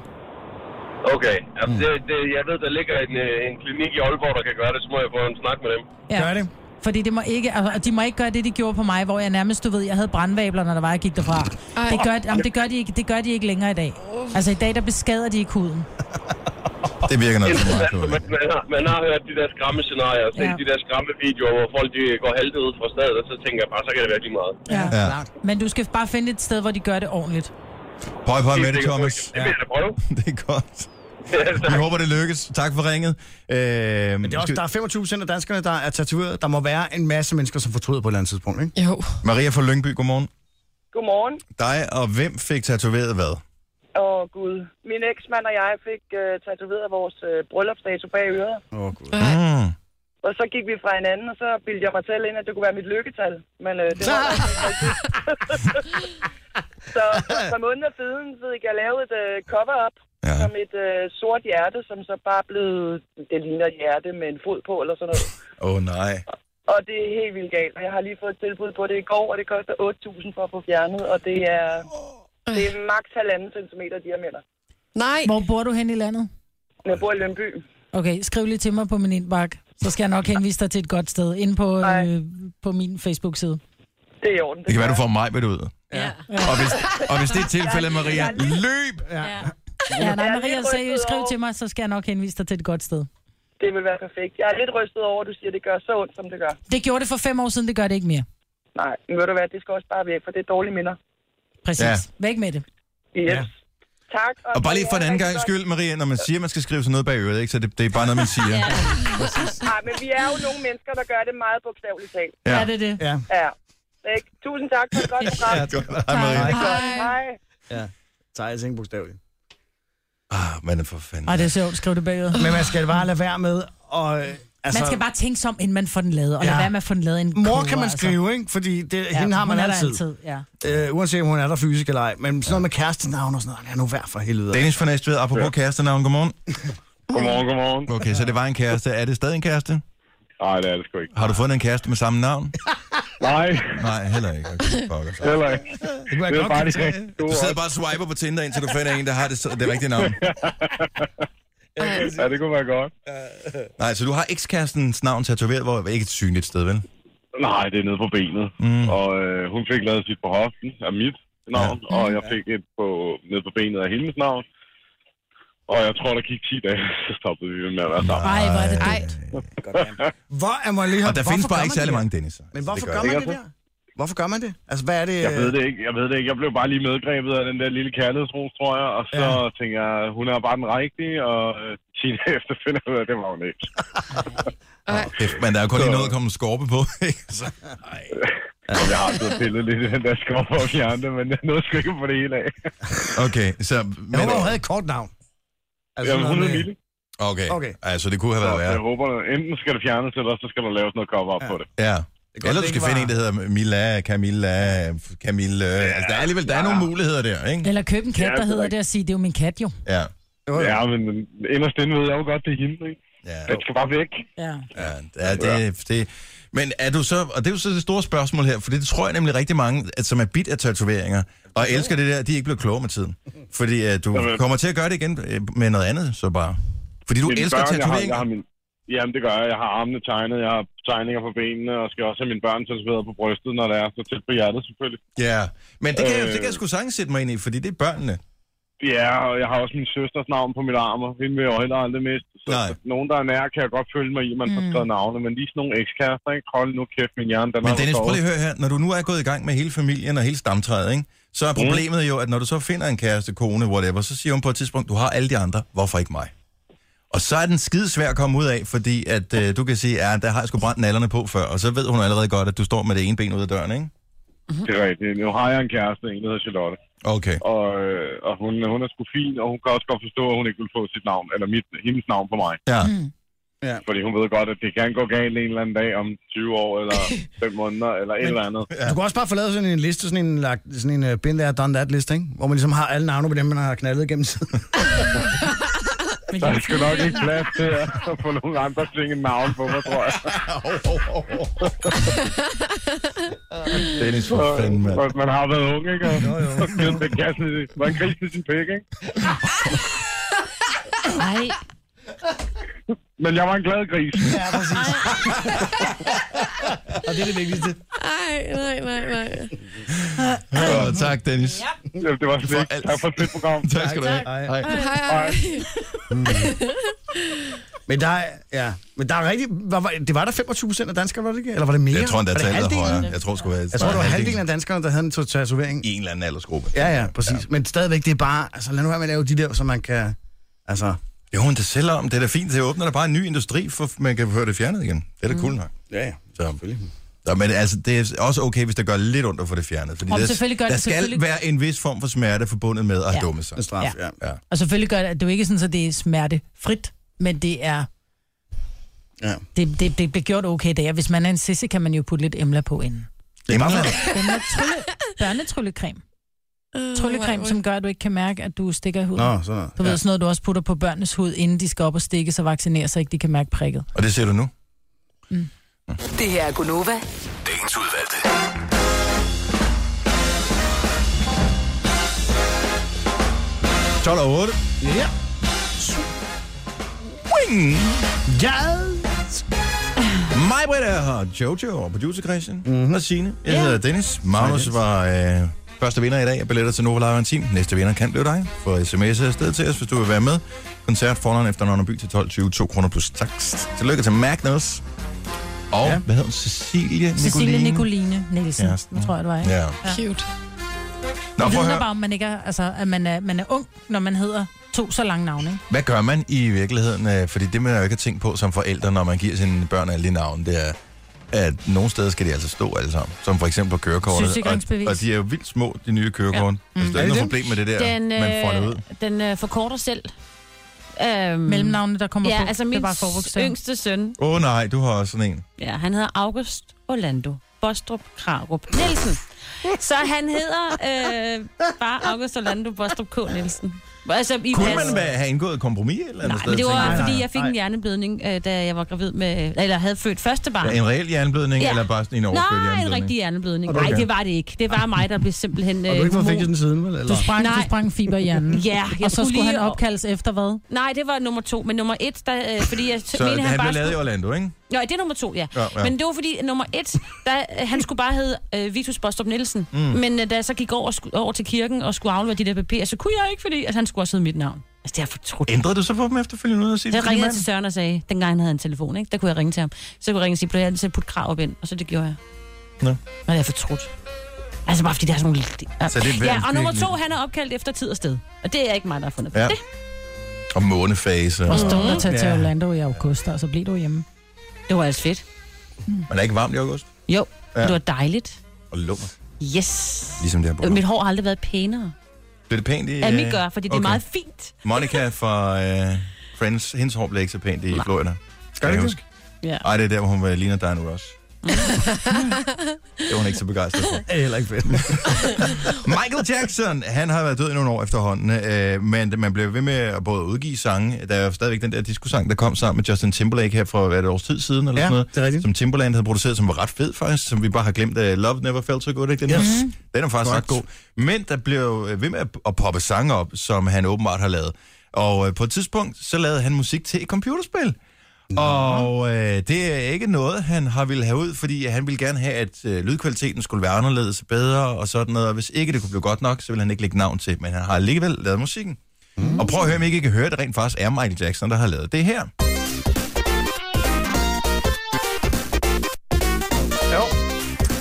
Okay, Jamen, det, det, jeg ved, der ligger en, øh, en klinik i Aalborg, der kan gøre det, så må jeg få en snak med dem.
Ja. Gør det. Fordi det må ikke, altså, og de må ikke gøre det, de gjorde på mig, hvor jeg nærmest, du ved, jeg havde brandvabler, når der var, jeg gik derfra.
Ej.
Det gør, jamen, det, gør de ikke, det gør de ikke længere i dag. Altså i dag, der beskader de ikke huden.
Det virker nok som meget
Interessant,
klogt.
man, man, har, man har hørt de der skræmme scenarier, og set
Ja.
de der skræmme videoer, hvor folk de går haltet ud fra stedet, og så tænker jeg bare, så kan det være lige meget.
Ja. ja. Men du skal bare finde et sted, hvor de gør det ordentligt.
Høj, høj med
Helt
det,
sikkert.
Thomas.
Det vil jeg da prøve.
Det er godt. Vi håber, det lykkes. Tak for ringet. Øh, Men
Det er også, der er 25 procent af danskerne, der er tatoveret. Der må være en masse mennesker, som fortryder på et eller andet tidspunkt, ikke?
Jo.
Maria fra Lyngby, godmorgen.
Godmorgen.
Dig og hvem fik tatoveret hvad?
Åh, oh, Gud. Min eksmand og jeg fik øh, tatoveret vores øh, bryllupsdato bag øret.
Åh, oh, Gud.
Mm.
Og så gik vi fra hinanden, og så bildte jeg mig selv ind, at det kunne være mit lykketal. Men øh, det var der ikke rigtigt. Så for et par måneder siden fik jeg lavet et øh, cover-up ja. som et øh, sort hjerte, som så bare blev... Det ligner et hjerte med en fod på eller sådan noget.
Åh, oh, nej.
Og det er helt vildt galt. Og jeg har lige fået et tilbud på det i går, og det koster 8.000 for at få fjernet. Og det er, det er maks halvanden centimeter diameter.
Nej.
Hvor bor du hen i landet?
Jeg bor i Lønby.
Okay, skriv lige til mig på min indbakke. Så skal jeg nok henvise dig til et godt sted. Inde på, øh, på min Facebook-side.
Det er i orden.
Det kan være, du får mig med det ud. Ja. Og, hvis, og hvis det er tilfældet, Maria, løb!
Ja. Ja, nej, Maria, så skriv til mig, så skal jeg nok henvise dig til et godt sted.
Det vil være perfekt. Jeg er lidt rystet over, at du siger, at det gør så ondt, som det gør.
Det gjorde det for fem år siden, det gør det ikke mere.
Nej, men ved du hvad, det skal også bare væk, for det er dårlige minder.
Præcis.
Ja.
Ja. Væk med det.
Yes.
Ja.
Tak.
Og bare lige for en anden gang skyld, Maria, når man siger, at man skal skrive sådan noget bag øret, ikke? så det, det er bare noget, man siger.
Nej, men vi er jo nogle mennesker, der gør det meget bogstaveligt talt.
Ja. Er det
det?
Ja.
ja. Ikke? Tusind tak for et godt program.
Ja, godt. Hej,
Tak.
Maria.
Hej. Hej.
Ja. Tager jeg ikke bogstaveligt.
Ah, man er for fanden.
Ej, det er sjovt, skriv det bagud.
Men man skal bare lade være med, og... øh,
Altså, man skal bare tænke sig om, inden man får den lavet, og ja.
Ja.
lade være med at få den lavet en
Mor
kurve,
kan man
altså.
skrive, ikke? Fordi det, ja, hende har man
hun er der
altid.
altid. Ja.
Øh, uanset om hun er der fysisk eller ej. Men sådan noget med kærestenavn og sådan noget, lad nu være for helvede.
Dennis fra Næstved, apropos ja. kærestenavn, godmorgen.
Godmorgen, godmorgen.
Okay, så det var en kæreste. Er det stadig en kæreste?
Nej, det er det sgu ikke.
Har du fundet en kæreste med samme navn?
Nej.
Nej, heller ikke. Okay, fuck, altså. så.
Heller ikke. Det,
er bare Du sidder bare og swiper på Tinder, indtil du finder en, der har det, det rigtige navn.
Ja, det kunne være godt.
Nej, så du har ekskærestens navn tatoveret, hvor det ikke er et synligt sted, vel?
Nej, det er nede på benet.
Mm.
Og øh, hun fik lavet sit på hoften af mit navn, ja. og jeg fik et på, nede på benet af hendes navn. Og jeg tror, der gik 10 dage, så stoppede vi med at være sammen.
Ej, hvor er det
Ej.
dumt.
Hvor er man lige
Og der findes bare ikke særlig mange Dennis.
Men hvorfor
det gør
gør
jeg
man det
ikke.
der? Hvorfor gør man det? Altså, hvad er det?
Jeg ved det ikke. Jeg ved det ikke. Jeg blev bare lige medgrebet af den der lille kærlighedsros, tror jeg. Og så ja. tænker jeg, hun er bare den rigtige, og øh, Tina efter finder jeg ud af, det var hun ikke.
Kæft, Men der er jo kun lige noget at komme en skorpe på, ikke? Så,
Altså, jeg har blevet pillet lidt i den der skov og fjerne, men jeg nåede sgu ikke på det hele af.
okay, så... Men, øh,
Jeg håber, hun havde et kort navn.
Altså, Jamen,
noget
hun er
med-
lille.
okay.
Okay.
altså det kunne have været
Så Jeg
værre.
håber, enten skal det fjernes, eller så skal der laves noget cover-up ja. på det.
Ja.
godt,
Eller
det
du skal
ikke
finde
var-
en, der hedder Milla, Camilla, Camille. Ja. Altså, der er alligevel der er nogle muligheder der, ikke?
Eller købe en kat,
Ja, det
der
er
hedder
rigtigt.
det, og sige, det er jo min kat jo.
Ja.
Ja, men inderst inde ved jeg jo godt, det er hende, ikke?
Ja.
Den skal bare væk.
Ja.
Ja, det, det, men er du så, og det er jo så det store spørgsmål her, for det tror jeg nemlig rigtig mange, at som er bit af tatoveringer, og elsker det der, de er ikke blevet klogere med tiden. Fordi uh, du
Jamen.
kommer til at gøre det igen øh, med noget andet, så bare. Fordi du
Mine
elsker
børn, jeg har- Jeg
tatoveringer.
har, min... Jamen, det gør jeg. Jeg har armene tegnet, jeg har tegninger på benene, og skal også have mine børn tatoveret på brystet, når det er så tæt på hjertet, selvfølgelig.
Ja, men det kan, jeg, det
Øh.
kan jeg sgu sagtens sætte mig ind i, fordi det er børnene.
Ja, og jeg har også min søsters navn på mit arm, og hende vil jeg jo heller aldrig miste. Så
Nej.
nogen, der er nær, kan jeg godt følge mig i, at man får skrevet navne, men lige sådan nogle ekskærester, ikke? Hold nu kæft, min hjerne, den
Men
har
Dennis, prøv
forstået.
lige at høre her. Når du nu er gået i gang med hele familien og hele stamtræet, ikke? så er
Mm.
problemet jo, at når du så finder en kæreste, kone, whatever, så siger hun på et tidspunkt, du har alle de andre, hvorfor ikke mig? Og så er den skide svær at komme ud af, fordi at, øh, du kan sige, ja, der har jeg sgu brændt nallerne på før, og så ved hun allerede godt, at du står med det ene ben ud af døren, ikke?
Det er rigtigt. Nu har jeg en kæreste, en der hedder Charlotte.
Okay.
Og, øh, og hun, hun er sgu fin, og hun kan også godt forstå, at hun ikke vil få sit navn, eller mit, hendes navn på mig.
Ja.
Ja.
Fordi hun ved godt, at det kan gå galt en eller anden dag om 20 år, eller 5 måneder, eller et eller andet.
Du kan også bare få lavet sådan en liste, sådan en, lagt- sådan en uh, been there, done that liste, ikke? Hvor man ligesom har alle navne på dem, man har knaldet gennem tiden.
Der er sgu nok ikke plads til at få nogle andre slinge navn på mig, tror jeg.
Dennis, for fanden, mand.
Hvis man har været ung, ikke? Og så givet sig kassen i var en gris til sin pæk, ikke?
Nej.
Men jeg var en glad gris.
Ja, præcis. og det er det vigtigste.
Nej, nej, nej, nej.
Oh, tak, Dennis.
Ja, det var slet ikke. Tak for et fedt program.
Tak skal du have.
Hej.
Hej, hej.
Men der er, ja. Men der er rigtig, hvad var, det var der 25 procent af danskere, var det ikke? Eller var det mere?
Jeg tror, der
Var det
tallet er
halvdelen?
højere. Jeg tror, sgu, at
Jeg tror, det var halvdelen af danskerne, der havde en tatovering.
i en eller anden aldersgruppe.
Ja, ja, præcis. Ja. Men stadigvæk, det er bare, altså lad nu være med at lave de der, så man kan, altså...
Jo, men det sælger om. Det er da fint. Det åbner da bare en ny industri, for man kan få det fjernet igen. Det er da
Mm.
cool nok.
Ja, ja.
Så. Så, men altså, det er også okay, hvis det gør lidt ondt at få det fjernet. Fordi
Om
der,
selvfølgelig gør
der
det,
skal
selvfølgelig-
være en vis form for smerte forbundet med at
Ja.
ja. dumme sig.
En straf, Ja.
ja.
Og selvfølgelig gør det, at det er jo ikke sådan, at det er smertefrit, men det er...
Ja.
Det, det, det bliver gjort okay der. Hvis man er en sisse, kan man jo putte lidt emler på inden.
Det er bare for-
Emler trylle, børnetryllecreme.
Øh,
Tryllecreme, som gør, at du ikke kan mærke, at du stikker i huden.
Nå, sådan noget.
Du ved
Ja.
sådan noget, du også putter på børnenes hud, inden de skal op og stikke sig og vaccinere, så ikke de kan mærke prikket.
Og det ser du nu?
Det her er Gunova.
Dagens udvalgte.
Ja. 12 og 8.
Ja.
Wing!
Yes!
Mig, Britt, er her. Jojo og producer Christian. Mm-hmm. Og Signe. Jeg hedder Dennis. Magnus var øh, første vinder i dag af billetter til Nova Live Team. Næste vinder kan blive dig. Få sms'er afsted til os, hvis du vil være med. Koncert foran efter Nørre By til 12.20. 2 kroner plus takst. Tillykke til Magnus. Og ja. hvad hedder hun? Cecilie
Cecilie
Nicoline.
Nicoline Nielsen,
Ja,
ja,
sådan.
tror jeg, det var, ikke?
Ja. Nå,
Cute.
Nå, det
prøv at
vidner
høre.
bare, om man ikke er, altså, at man er, man er ung, når man hedder to så lange navne, ikke?
Hvad gør man i virkeligheden? Øh, Fordi det, man jo ikke har tænkt på som forældre, når man giver sine børn alle de navne, det er, at nogle steder skal de altså stå alle sammen. Som for eksempel på kørekortet. Og,
Sygesikringsbevis.
og de er jo vildt små, de nye kørekort. Ja. Mm. Altså, der er
Er det
ikke noget
dem?
problem med det der, den,
Den,
øh... man får det ud.
den øh, forkorter selv. Øhm,
Mm.
Mellemnavne, der kommer
ja,
på.
altså
Det er
min
bare forvoksen.
yngste søn,
Åh oh, nej, du har også sådan en.
ja, han hedder August Orlando Bostrup Krarup Nielsen. Så han hedder øh, bare August Orlando Bostrup K. Nielsen. Altså, i
Kunne
pas.
man være- have indgået et kompromis et eller andet
Nej,
sted?
men det var,
tænker jeg?
fordi jeg fik en hjerneblødning, øh, da jeg var gravid med, eller havde født første barn.
Ja, en reel hjerneblødning, ja.
Ja.
eller bare sådan en overført
Nej,
hjerneblødning?
en rigtig hjerneblødning.
Og du
Nej,
ikke-
det var det ikke. Det var mig, der blev simpelthen...
Og du ikke
øh,
var
hormon-
fængslet den siden, vel? Eller?
Du sprang, du
Nej.
sprang fiber i hjernen.
Ja, jeg
og så
skulle
skulle han
lige-
opkaldes efter hvad?
Nej, det var nummer to. Men nummer et, der, øh, fordi jeg
Så han, han
bare
blev lavet i Orlando, ikke?
Nå, det er nummer to, ja.
Ja,
ja,
ja.
ja. Men det var fordi, nummer et, der, øh, han skulle bare hedde øh, Vitus Bostrup Nielsen.
Mm.
Mm. Men øh, da jeg så gik over, sku, over til kirken og skulle aflevere de der papirer, så kunne jeg ikke, fordi at han skulle også hedde mit navn. Altså, det er fortrudt.
Ændrede du så på dem efterfølgende ud og sige,
Så jeg ringede til Søren og sagde, dengang han havde en telefon, ikke? der kunne jeg ringe til ham. Så kunne jeg ringe og sige, blev jeg altid putte krav op ind? Og så det gjorde jeg.
Nå.
Men jeg er fortrudt. Altså bare fordi der er sådan nogle... Ja.
Så det er
ja, og nummer
virkelig-
to, han er opkaldt efter tid og sted. Og det er ikke mig, der har fundet på
Ja.
ja. det.
Og månefase.
Og stå og tage til
Ja.
Orlando i august, og så bliver du hjemme.
Det var altså fedt.
Men er det ikke varmt i august?
Jo,
Ja.
ja. det var dejligt.
Og lummer.
Yes.
Ligesom det her
Øh,
program.
Mit hår har aldrig været pænere,
Bliver det pænt i...
end mit
øh,
gør, fordi det er meget fint.
Monica fra øh, Friends, hendes hår blev ikke så pænt i Florida. Skal det ikke
Ja.
Ej, det er der, hvor hun øh, ligner dig nu også. Det var hun ikke så begejstret for.
Det er heller ikke fedt.
Michael Jackson, han har været død i nogle år efterhånden, øh, men man blev ved med at både udgive sange. Der er jo stadigvæk den der disco-sang, der kom sammen med Justin Timberlake her for hvad er det, et års tid siden, eller
Ja,
sådan noget,
det er rigtigt.
som Timberland havde produceret, som var ret fed faktisk, som vi bare har glemt. Uh, Love Never Felt So Good, ikke? Den, yes.
Yes.
den er faktisk ret god.
Godt.
Men der blev jo øh, ved med at- at poppe sange op, som han åbenbart har lavet. Og øh, på et tidspunkt, så lavede han musik til et computerspil. Og øh, det er ikke noget, han har ville have ud, fordi han ville gerne have, at øh, lydkvaliteten skulle være anderledes og bedre og sådan noget. Og hvis ikke det kunne blive godt nok, så ville han ikke lægge navn til. Men han har alligevel lavet musikken. Mm. Og prøv at høre, om I ikke kan høre, at det rent faktisk er Michael Jackson, der har lavet det her.
Jo.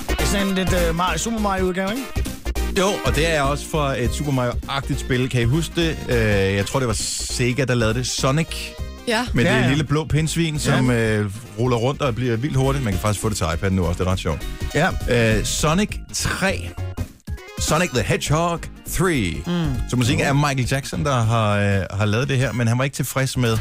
Det er sådan en lidt uh, Mario, Super Mario-udgave, ikke?
Jo, og det er også fra et Super Mario-agtigt spil. Kan I huske det? Øh, jeg tror, det var Sega, der lavede det. Sonic.
Ja.
Med
ja,
det
ja.
lille blå pindsvin, som øh, ruller rundt og bliver vildt hurtigt. Man kan faktisk få det til iPad nu også, det er ret sjovt. Ja. Øh, Sonic 3. Sonic the Hedgehog 3. Mm. Så musikken er Michael Jackson, der har, øh, har lavet det her, men han var ikke tilfreds med...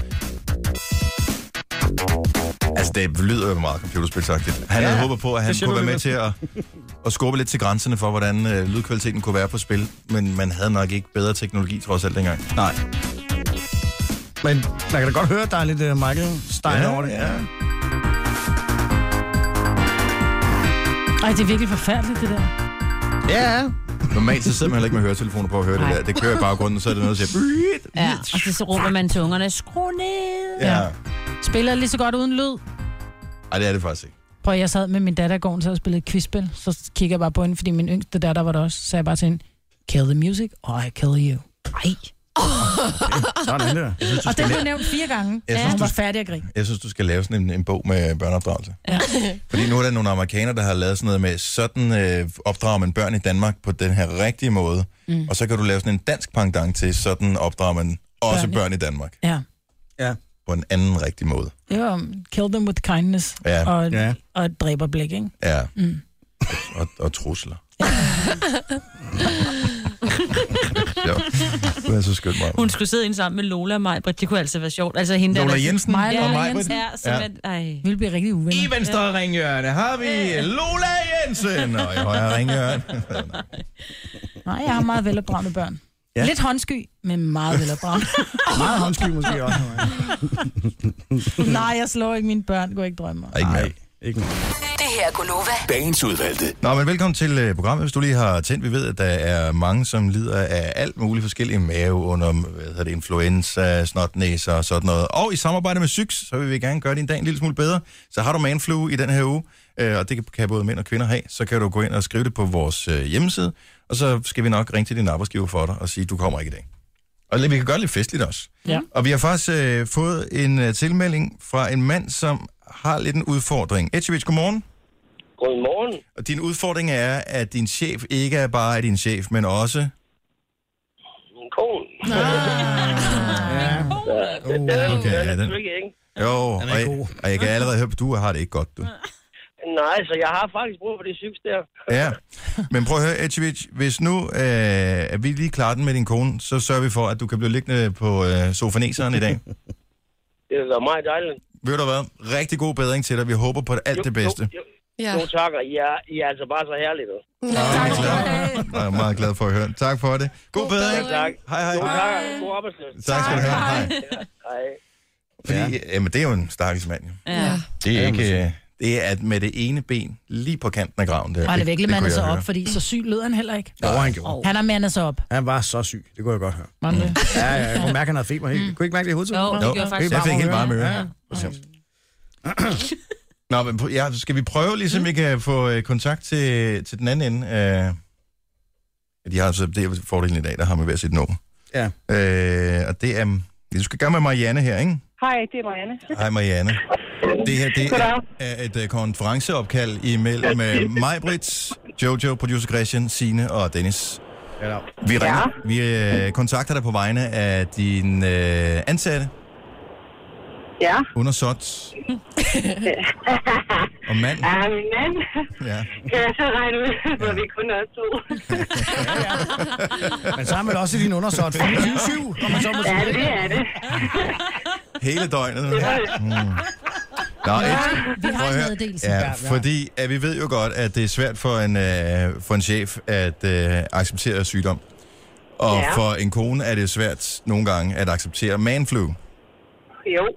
Altså, det lyder jo meget computerspilsagtigt. Han ja, havde håbet på, at han
det siger
kunne være
du
med
lidt.
til at, at skubbe lidt til grænserne for, hvordan øh, lydkvaliteten kunne være på spil, men man havde nok ikke bedre teknologi, trods alt, dengang. Nej.
Men man kan da godt høre, at der er lidt uh, Michael-style
Ja,
over det.
Ja.
Ej, det er virkelig forfærdeligt, det der.
Ja,
Normalt så sidder man heller ikke med høretelefoner på at høre
Nej.
det der. Det kører i baggrunden, så er det noget, der siger...
Ja, og så, så råber man til ungerne, skru ned.
Ja.
Spiller lige så godt uden lyd.
Ej, det er det faktisk ikke.
Prøv, jeg sad med min datter i går, så og spillede et quizspil. Så kigger jeg bare på hende, fordi min yngste datter var der også. Så sagde jeg bare til hende, kill the music, or I kill you. Ej.
Sådan der.
Jeg synes, du
Og
skal
den blev
lave-
nævnt fire gange,
Jeg
og
synes,
hun
du-
var færdig at grine.
Jeg synes, du skal lave sådan en, en bog med børneopdragelse.
Ja.
Fordi nu er der nogle amerikanere, der har lavet sådan noget med, sådan øh, opdrager man børn i Danmark på den her rigtige måde. Mm.
Mm.
Og så kan du lave sådan en dansk pendant til, sådan opdrager man også
Børn i-
børn i Danmark.
Ja.
Ja.
På en anden rigtig måde.
Det var um, kill them with kindness
Ja.
og,
Ja.
og et dræberblik, ikke?
Ja.
Mm.
Og, og trusler. Ja. Det er så skønt, Maja.
Hun skulle sidde ind sammen med Lola og Majbrit. Det kunne altså være sjovt. Altså hende der-
Lola
der...
Jensen
Maja,
og
Lola
Maj-Britt.
Jensen. Ja, som
Ja.
ja. Er, ej.
Vi vil blive rigtig uvenner.
I venstre ja. ringhjørne har vi Lola Jensen, og i højre ringhjørne.
Nej, jeg har meget velopdragende børn.
Ja.
Ja. Lidt håndsky, men meget velopdragende.
Meget håndsky måske også.
Nej, jeg slår ikke mine børn, går ikke drømme om.
Ikke mere.
Ikke
Det her er Gunova.
Dagens udvalgte. Nå, men velkommen til øh, programmet, hvis du lige har tændt. Vi ved, at der er mange, som lider af alt muligt forskellige mave under hvad hedder det, influenza, snotnæser og sådan noget. Og i samarbejde med Syks, så vil vi gerne gøre din dag en lille smule bedre. Så har du manflu i den her uge, øh, og det kan- kan både mænd og kvinder have, så kan du gå ind og skrive det på vores øh, hjemmeside, og så skal vi nok ringe til din arbejdsgiver for dig og sige, du kommer ikke i dag. Og vi kan gøre det lidt festligt også.
Ja.
Og vi har faktisk øh, fået en øh, tilmelding fra en mand, som har lidt en udfordring. Etchevich, godmorgen.
Godmorgen.
Og din udfordring er, at din chef ikke er bare er din chef, men også...
Min kone.
Ja, okay, ja, den. Jo, og jeg, og jeg kan allerede høre, at du har det ikke godt, du.
Nej, så jeg har faktisk brug for det sygs der.
Ja, men prøv at høre, Etchevich, hvis nu øh, at vi lige klarer den med din kone, så sørger vi for, at du kan blive liggende på øh, sofaneseren i dag.
Det vil være meget dejligt.
Ved du hvad? Rigtig god bedring til dig. Vi håber på alt det bedste.
Ja. Nu takker. I er, I er altså bare så herlige, du.
Jeg er meget glad for at høre. Tak for det. God bedring.
Tak.
Hej, hej.
God, tak. God arbejdsløs.
Tak skal du have. Hej.
Hej.
Fordi, ja. jamen, det er jo en stakkels mand, jo.
Ja.
Det er ikke... øh, Det er at med det ene ben lige på kanten af graven. Der.
Og det virkelig mandet
kunne
sig
jeg
op,
høre.
fordi så syg lød han heller ikke.
Jo, han gjorde.
Han har mandet sig op.
Han var så syg, det kunne jeg godt høre.
Var han det?
Ja, ja, jeg kunne mærke, at han havde feber. Mm. Kunne I ikke mærke det i hovedet?
Jo, det gjorde jeg faktisk.
Jeg fik helt varme ører.
Ja, ja.
Præcis. Nå, men pr- ja, skal vi prøve, ligesom vi kan få øh, kontakt til, til den anden ende? Øh, de har så det er fordelen i dag, der har man hver sit nummer.
Ja.
Øh, og det er... Du skal gøre med Marianne her, ikke?
Hej, det er Marianne.
Hej Marianne. Det her det er,
Goddag.
er et øh, konferenceopkald imellem øh, Majbrits, Jojo, producer Christian, Sine og Dennis. Vi, ringer, vi øh, kontakter dig på vegne af din øh, ansatte,
Ja.
undersåt og mand.
Ja, min mand.
Ja.
Kan jeg så regne ud, hvor vi kun er to?
Men så har man også i din undersåt 24-7, om man så må
Ja,
sige.
det er det.
Hele døgnet. Mm. Nå,
Ja,
ikke.
vi har
Prøv
en
at høre.
meddelelse. Ja,
Ja,
ja.
fordi at vi ved jo godt, at det er svært for en, øh, for en chef at øh, acceptere sygdom. Og
Ja.
for en kone er det svært nogle gange at acceptere manflu.
Jo.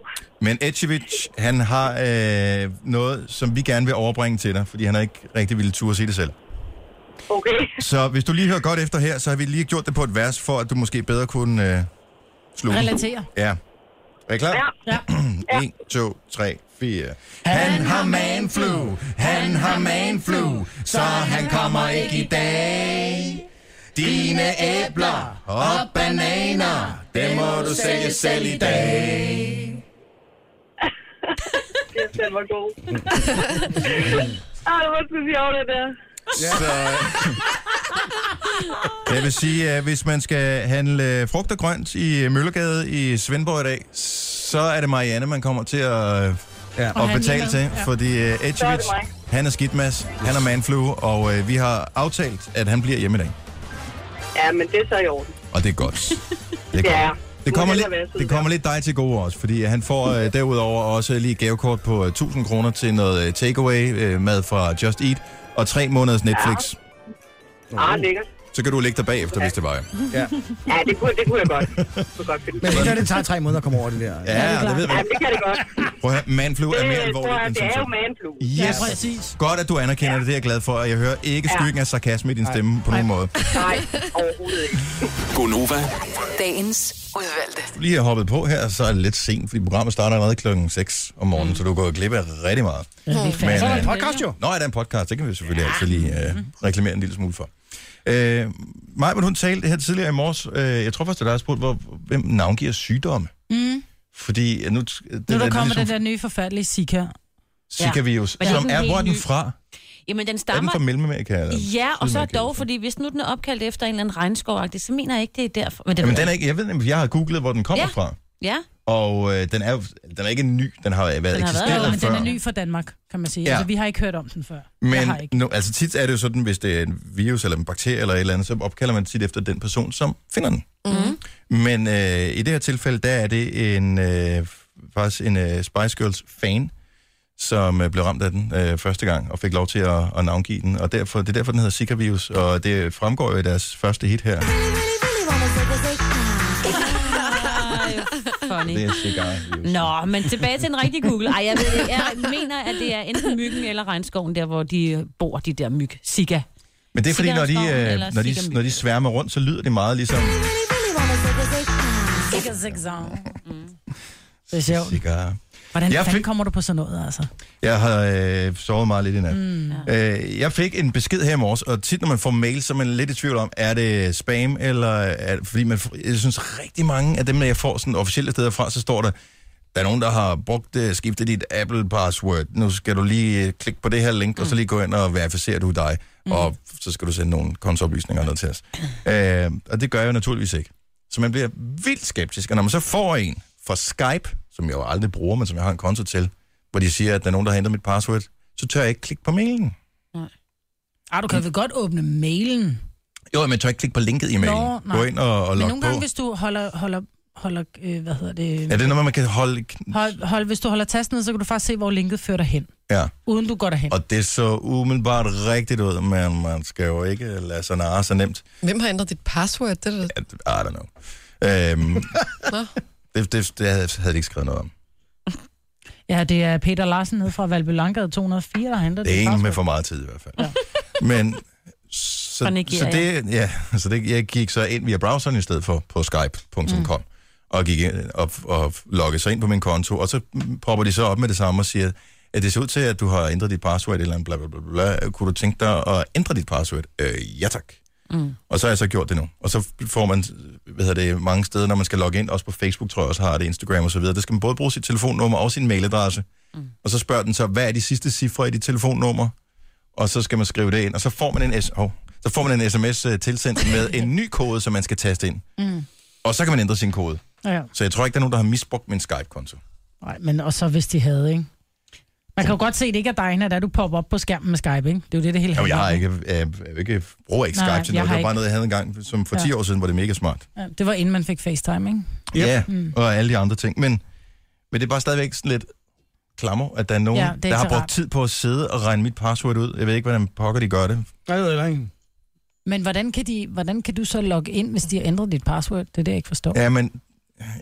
Men Etchevich, han har øh, noget, som vi gerne vil overbringe til dig, fordi han har ikke rigtig ville turde sige det selv.
Okay.
Så hvis du lige hører godt efter her, så har vi lige gjort det på et vers, for at du måske bedre kunne øh, slukke.
Relatere.
Ja. Er I klar? Mm,
Ja.
1, 2, 3, 4. Han har manflu, han har manflu, så han kommer ikke i dag. Dine æbler og bananer, dem må du sælge selv i dag.
Den var god. Ej, hvor skal vi over det der?
Så... Jeg vil sige, at hvis man skal handle frugt og grønt i Møllergade i Svendborg i dag, så er det Marianne, man kommer til at, ja,
Og
at
handle
betale
med.
til.
Ja.
Fordi øh,
Så er det
Edgewitz,
mig.
han er skidtmas, han er manflue, og øh, vi har aftalt, at han bliver hjemme i dag.
Ja, men det er så i orden.
Og det er godt. Det
Ja.
Det
Nu
kommer, lidt,
hellere være siden
det kommer lidt dig til gode også, fordi han får øh, derudover også lige et gavekort på øh, 1000 kroner til noget øh, takeaway øh, mad fra Just Eat og tre måneders Netflix.
Ah, lækkert.
Så kan du lægge dig bagefter, hvis det var. Ja.
Ja.
Ja, det kunne, det kunne jeg godt. Det kunne jeg godt finde.
Men det gør, det tager tre måneder at komme over det der.
Ja, det ved
Ja,
man.
det kan det godt.
Prøv at høre, manflu er mere
Det tror
alvorligt
jeg,
end
det
som
er jo
så.
manflu.
Yes.
Ja,
Godt, at du anerkender det. Det er jeg glad for, og jeg hører ikke
Ja.
skyggen af sarkasme i din stemme på nogen måde.
Nej, overhovedet ikke.
Gonova.
Dagens udvalgte.
Du lige har hoppet på her, så er det lidt sent, fordi programmet starter allerede klokken 6 om morgenen, så du går glip af rigtig meget. øh,
Ja, det er fandme Så er der en podcast jo.
Nå, ja, der er en podcast. Det kan vi selvfølgelig ja. altid lige øh, reklamere en lille smule for. Øh, Maja, hun talte her tidligere i morges. Øh, jeg tror først, at der er spurgt, hvor, hvem navngiver sygdomme.
Mm.
Fordi øh, nu... Det,
Nu er der
lidt
kommer
ligesom
den der nye forfærdelige Zika.
Zika-virus,
Ja.
ja.
Men
som
den er
er,
helt
hvor er den
ny.
fra?
Øh, Jamen, den
Er den
stammer...
fra Mellemamerika? Eller
Ja, og så
Sydamerika?
dog, fordi hvis nu den er opkaldt efter en eller anden regnskovagtig, så mener jeg ikke, det er derfor.
Men
det
den, Jamen,
ved
den er
jeg
ikke, jeg ved nemlig, jeg har googlet, hvor den kommer
Ja.
fra.
Ja,
Og øh, den, er, jo- den er ikke ny, den har været
Den har været,
eksisterende
men
før.
den er ny for Danmark, kan man sige.
Ja.
Ja. Altså, vi har ikke hørt om den før. jeg har
Men
ikke.
nu, altså tit er det jo sådan, hvis det er en virus eller en bakterie eller et eller andet, så opkalder man tit efter den person, som finder den.
Mm.
Men øh, i det her tilfælde, der er det en, øh, faktisk en øh, Spice Girls fan, som øh, blev ramt af den øh, første gang og fik lov til at, at navngive den. Og derfor, det er derfor, den hedder Zika virus, og det fremgår jo i deres første hit her.
funny.
Det er Zika.
Nå, men tilbage til en rigtig Google. Ej, jeg, ved, det ikke. jeg mener, at det er enten myggen eller regnskoven, der hvor de bor, de der myg. Sika.
Men det er fordi, når de,
Sikkerhedsgården
øh,
eller
når, de,
sikkermyg?
når de sværmer rundt, så lyder det meget ligesom...
Zika, zika, zang. Det er sjovt.
Sikker.
Hvordan
Jeg
jeg fanden
fik-
kommer du på sådan noget, altså?
Jeg har øh, sovet meget lidt i nat. Mm,
Mm,
øh, jeg fik en besked her i morges, og tit når man får mail, så er man lidt i tvivl om, er det spam, eller er det, fordi man, får- jeg synes rigtig mange af dem, når jeg får sådan officielle steder fra, så står der, der er nogen, der har brugt, øh, skiftet dit Apple-password. Nu skal du lige øh, klikke på det her link, mm. og så lige gå ind og verificere, du er dig. Mm. Og så skal du sende nogle kontooplysninger ned til os. Øh, og det gør jeg jo naturligvis ikke. Så man bliver vildt skeptisk. Og når man så får en fra Skype, som jeg jo aldrig bruger, men som jeg har en konto til, hvor de siger, at der er nogen, der har ændret mit password, så tør jeg ikke klikke på mailen.
Ah, du kan vel godt åbne mailen.
Jo, men jeg tør ikke klikke på linket i mailen.
Nå, nej.
Gå ind og, og
Men
log
nogle
på.
gange, hvis du holder, holder, holder øh, hvad hedder det?
Er det noget, man kan holde...
Hold, hold, hvis du holder tasten ned, så kan du faktisk se, hvor linket fører dig hen.
Ja.
Uden du går derhen.
Og det så umiddelbart rigtigt ud, men man skal jo ikke lade sig narre så nemt.
Hvem har ændret dit password? Det er da...
I don't know. Øhm,
Nå.
det, det, det havde havde de ikke skrevet noget om.
Ja, det er Peter Larsen nede fra Valby Langgade 204, der henter
Det er en
faktisk.
med for meget tid i hvert fald. Ja. Men så,
Fra Nigeria.
så, det, ja, så det, jeg gik så ind via browseren i stedet for på skype.com mm. og gik ind og, og loggede sig ind på min konto, og så popper de så op med det samme og siger, at det ser ud til, at du har ændret dit password eller andet, bla, bla, bla, bla. Kunne du tænke dig at ændre dit password? Øh, ja tak. Mm. Og så har jeg så gjort det nu. Og så får man, hvad hedder det, mange steder, når man skal logge ind, også på Facebook, tror jeg også har det, Instagram og så videre, der skal man både bruge sit telefonnummer og sin mailadresse. Mm. Og så spørger den så, hvad er de sidste cifre i dit telefonnummer? Og så skal man skrive det ind, og så får man en, s- oh, så får man en sms øh, tilsendt med en ny kode, som man skal taste ind.
Mm.
Og så kan man ændre sin kode.
Ja.
Så jeg tror ikke, der er nogen, der har misbrugt min Skype-konto.
Nej, men og så hvis de havde, ikke? Man kan jo godt se, det ikke er dig, når det er, du popper op på skærmen med Skype, ikke? Det er jo det, det hele
Jo, jeg
handler
har
om.
ikke, øh, jeg ikke, bruger ikke Skype
Nej,
Nej, til noget.
jeg
Det
har
var bare
ikke.
noget, jeg havde engang, som for 10
Ja.
år siden var det mega smart.
Ja, det var inden man fik FaceTime, ikke?
Ja,
Mm.
og alle de andre ting. Men, men det er bare stadigvæk sådan lidt klammer, at der er nogen,
Ja,
ja,
det er
er der
ikke
har
så
brugt
rart.
tid på at sidde og regne mit password ud. Jeg ved ikke, hvordan pokker de gør det.
Jeg ved det ikke.
Men hvordan kan, de, hvordan kan du så logge ind, hvis de har ændret dit password? Det er det, jeg ikke forstår.
Ja, men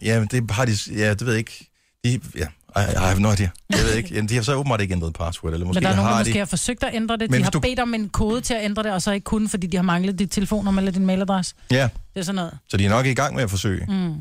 ja, men det har de... Ja, det ved jeg ikke. De, ja, I, I have no idea. Jeg ved ikke. Jamen, de har så åbenbart ikke ændret password, eller måske
Måske men der er nogen,
har
der
de.
måske har forsøgt at ændre det.
Men
De
hvis
har
du-
bedt om en kode til at ændre det, og så ikke kun, fordi de har manglet dit telefonnummer eller din mailadresse.
Ja,
Det er sådan noget.
så de er nok i gang med at forsøge.
Mm.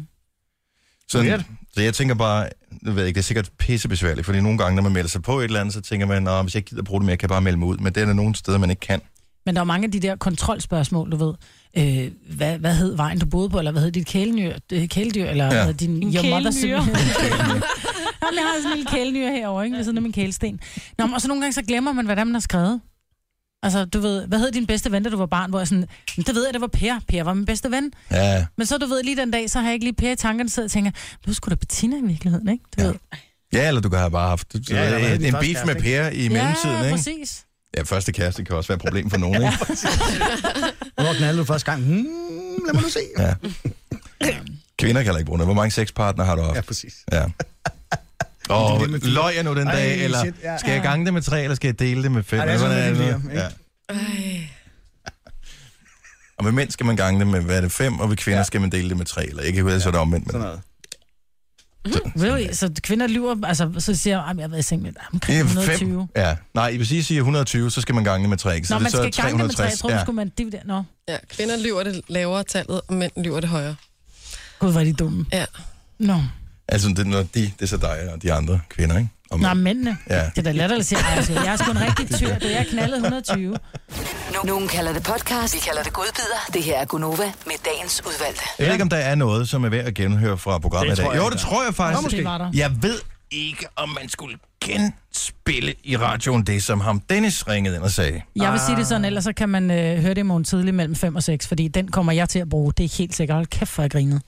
Sådan, så jeg tænker bare, nu ved jeg ikke, det er sikkert pissebesværligt, fordi nogle gange, når man melder sig på et eller andet, så tænker man, at hvis jeg ikke gider bruge det mere, kan jeg bare melde mig ud. Men det er der nogle steder, man ikke kan.
Men der er jo mange af de der kontrolspørgsmål, du ved. Øh, hvad, hvad hed vejen, du boede på, eller hvad hed dit kæledyr, øh, kæledyr eller
Ja.
ja. hvad, din
En
your mother's-
kæledyr.
Jamen, jeg har sådan en lille kæledyr herovre, ikke? ved siden af min kælesten. Nå, men, og så nogle gange så glemmer man, hvordan man har skrevet. Altså, du ved, hvad hed din bedste ven, da du var barn? Hvor jeg sådan, "Men det ved jeg, det var Per. Per var min bedste ven.
Ja,
Men så du ved, lige den dag, så har jeg ikke lige Per i tankerne, så jeg tænker, nu skulle da Bettina i virkeligheden, ikke? Du ja. ved.
ja eller du kan have bare haft så,
Ja, eller hvad
ja,
hedder
en,
din
en
første
beef med
kæreste,
Per i mellemtiden,
ja,
ikke?
præcis.
Ja, første kæreste kan også være et problem for nogen, ikke?
Hvornår knaldede du første gang? Hmm, lad mig nu se.
Ja. Kvinder kan heller ikke bruge noget. Hvor mange sexpartnere har du haft?
Ja, præcis.
Ja. Og
det er det med fire.
løg jeg nu den
Ej,
dag,
shit,
eller
ja.
skal jeg gange det med tre, eller skal jeg dele det med fem?
Ej, det er sådan
Eller
lidt
hvordan
lige,
det? Og med mænd skal man gange det med, hvad er det, fem, og ved kvinder ja. skal man dele det med tre, eller ikke, så er det omvendt. Men...
Really? Så kvinder lyver, altså, så siger jeg, "Ej, men jeg har været i seng med dig omkring 120.
Ja. Nej, I vil sige, at I siger 120, så skal man gange det med tre, ikke? Så
Nå,
det
man
så er
skal gange det med tre, jeg tror, ja.
ja.
skulle man dividere. Nå.
Ja, kvinder lyver det lavere tallet, og mænd lyver det højere.
Gud, var de dumme.
Ja.
Nå.
Altså, det, er når de, det er så dig og de andre kvinder, ikke? Og
Nå, mændene.
Ja.
Det er da latterligt at sige, "Ej, altså, jeg er sgu en rigtig tyr, det er jeg knaldet 120.
Nu- Nogen kalder det podcast, vi kalder det godbider. Det her er Gunova med dagens udvalgte.
Jeg ved ikke, om der er noget, som er værd at genhøre fra programmet
Det
i
tror
dag.
jeg
Jo,
ikke,
det
der er.
tror jeg faktisk.
Nå, måske. Det var der.
Jeg ved ikke, om man skulle genspille i radioen det, som ham Dennis ringede ind og sagde.
Jeg vil sige det sådan, ellers så kan man øh, høre det i morgen tidlig mellem 5 og 6, fordi den kommer jeg til at bruge. Det er helt sikkert. Hold kæft, for jeg grinede.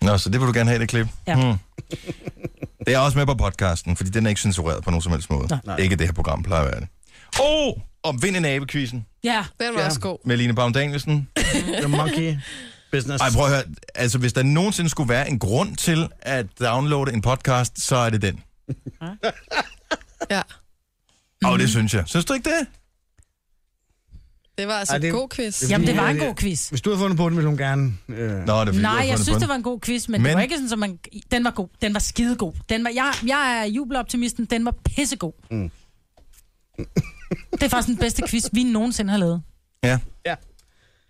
Nå, så det vil du gerne have, det klip?
Ja.
Hmm. Det er også med på podcasten, fordi den er ikke censureret på nogen som helst måde. Nej. Ikke det her program plejer at være det. Og om vinde nabekvisen
Ja,
den var også god.
med Line Baum Danielsen.
The monkey business.
Ej, prøv at høre. Altså, hvis der nogensinde skulle være en grund til at downloade en podcast, så er det den.
Ja,
Og det synes jeg. Synes du ikke det?
det var altså
Ej,
Ej, det, en god quiz.
Jamen, det var en god quiz.
Hvis du havde fundet på den, ville hun gerne... Øh...
Nå, det er fordi, du har
Nej, jeg
fundet
synes,
på
det
den.
var en god quiz, men, men...
Men-
det var ikke sådan, som man... Den var god. Den var skidegod. Den var... Jeg, jeg er jubeloptimisten. Den var pissegod.
Mm.
det er faktisk den bedste quiz, vi nogensinde har lavet.
Ja.
Ja.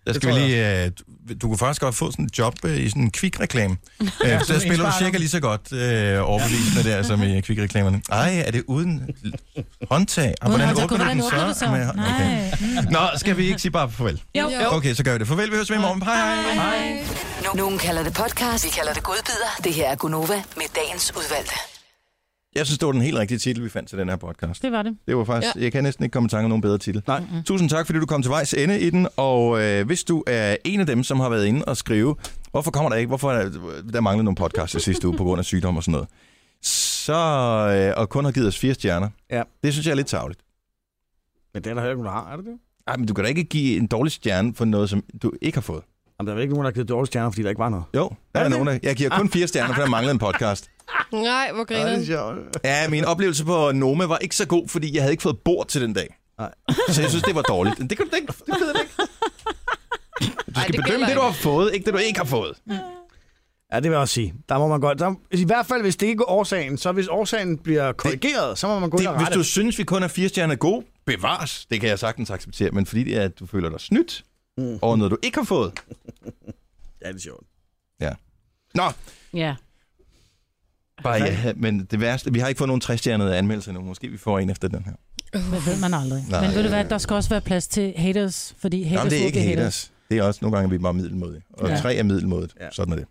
Der skal vi lige, øh, du, du kunne faktisk godt få sådan en job øh, i sådan en kvikreklame. Øh, så
sådan
der
en
spiller du
indsparker.
cirka lige så godt øh, overbevisende der, som i kvikreklamerne. Ej, er det uden håndtag? Og hvordan
håndtag.
åbner du
Hvordan
den
åbner du
så?
så?
Med, okay. Nå, skal vi ikke sige bare farvel?
Jo. Jo.
Okay, så gør vi det. Farvel, vi høres ved i morgen. Hej, hej.
Nu- Nogen kalder det podcast, vi kalder det godbider. Det her er Gunova med dagens udvalgte.
Jeg synes, det var den helt rigtige titel, vi fandt til den her podcast.
Det var det.
Det var faktisk, ja. jeg kan næsten ikke komme i tanke om nogen bedre titel. Nej. Mm-hmm. Tusind tak, fordi du kom til vejs ende i den, og øh, hvis du er en af dem, som har været inde og skrive, hvorfor kommer der ikke, hvorfor er, der manglede nogle podcasts i sidste uge på grund af sygdom og sådan noget, så, øh, og kun har givet os fire stjerner,
Ja.
det synes jeg er lidt tavligt.
Men det er der heller ikke, nogen, der har, er det det?
Ej, men du kan da ikke give en dårlig stjerne for noget, som du ikke har fået.
Jamen, der er vel ikke nogen, der har givet dårlige stjerner, fordi der ikke var noget.
Jo, der er,
det?
nogen, der, jeg giver kun fire stjerner, for der manglede en podcast.
Nej, hvor griner den.
Ja, min oplevelse på Noma var ikke så god, fordi jeg havde ikke fået bord til den dag.
Nej.
Så jeg synes, det var dårligt. Det kan du da ikke. Det ved jeg ikke. Du skal
det
bedømme
gælder
det, du har
ikke.
fået, ikke det, du ikke har fået.
Ja, det vil jeg også sige. Der må man godt... Der, I hvert fald, hvis det ikke er årsagen, så hvis årsagen bliver korrigeret, det, så må man gå ind
Det,
og
hvis
rette.
du synes, vi kun er fire stjerner gode, bevares. Det kan jeg sagtens acceptere. Men fordi det er, at du føler dig snydt mm. over noget, du ikke har fået.
Ja, det er sjovt.
Ja. Nå,
Ja.
bare ja, men det værste, vi har ikke fået nogen 60 stjernede anmeldelser endnu. Måske vi får en efter den her.
Det ved man aldrig.
Nej.
Nej, men ved du hvad, der skal også være plads til haters, fordi haters
Nå, men det er ikke
haters.
haters. Det er også nogle gange, vi er meget middelmodige. Og
Ja.
ja. tre er middelmodigt. Ja. Sådan er det.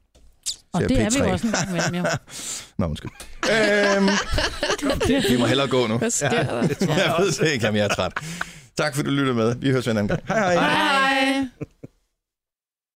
Og
Ser
det er
P3.
vi jo også en gang imellem, jo.
Nå, undskyld. øhm, vi må hellere gå nu.
Hvad sker der?
Jeg ved det ikke, om jeg er træt. Tak, fordi du lyttede med. Vi høres ved en anden gang. Hej hej.
Hej.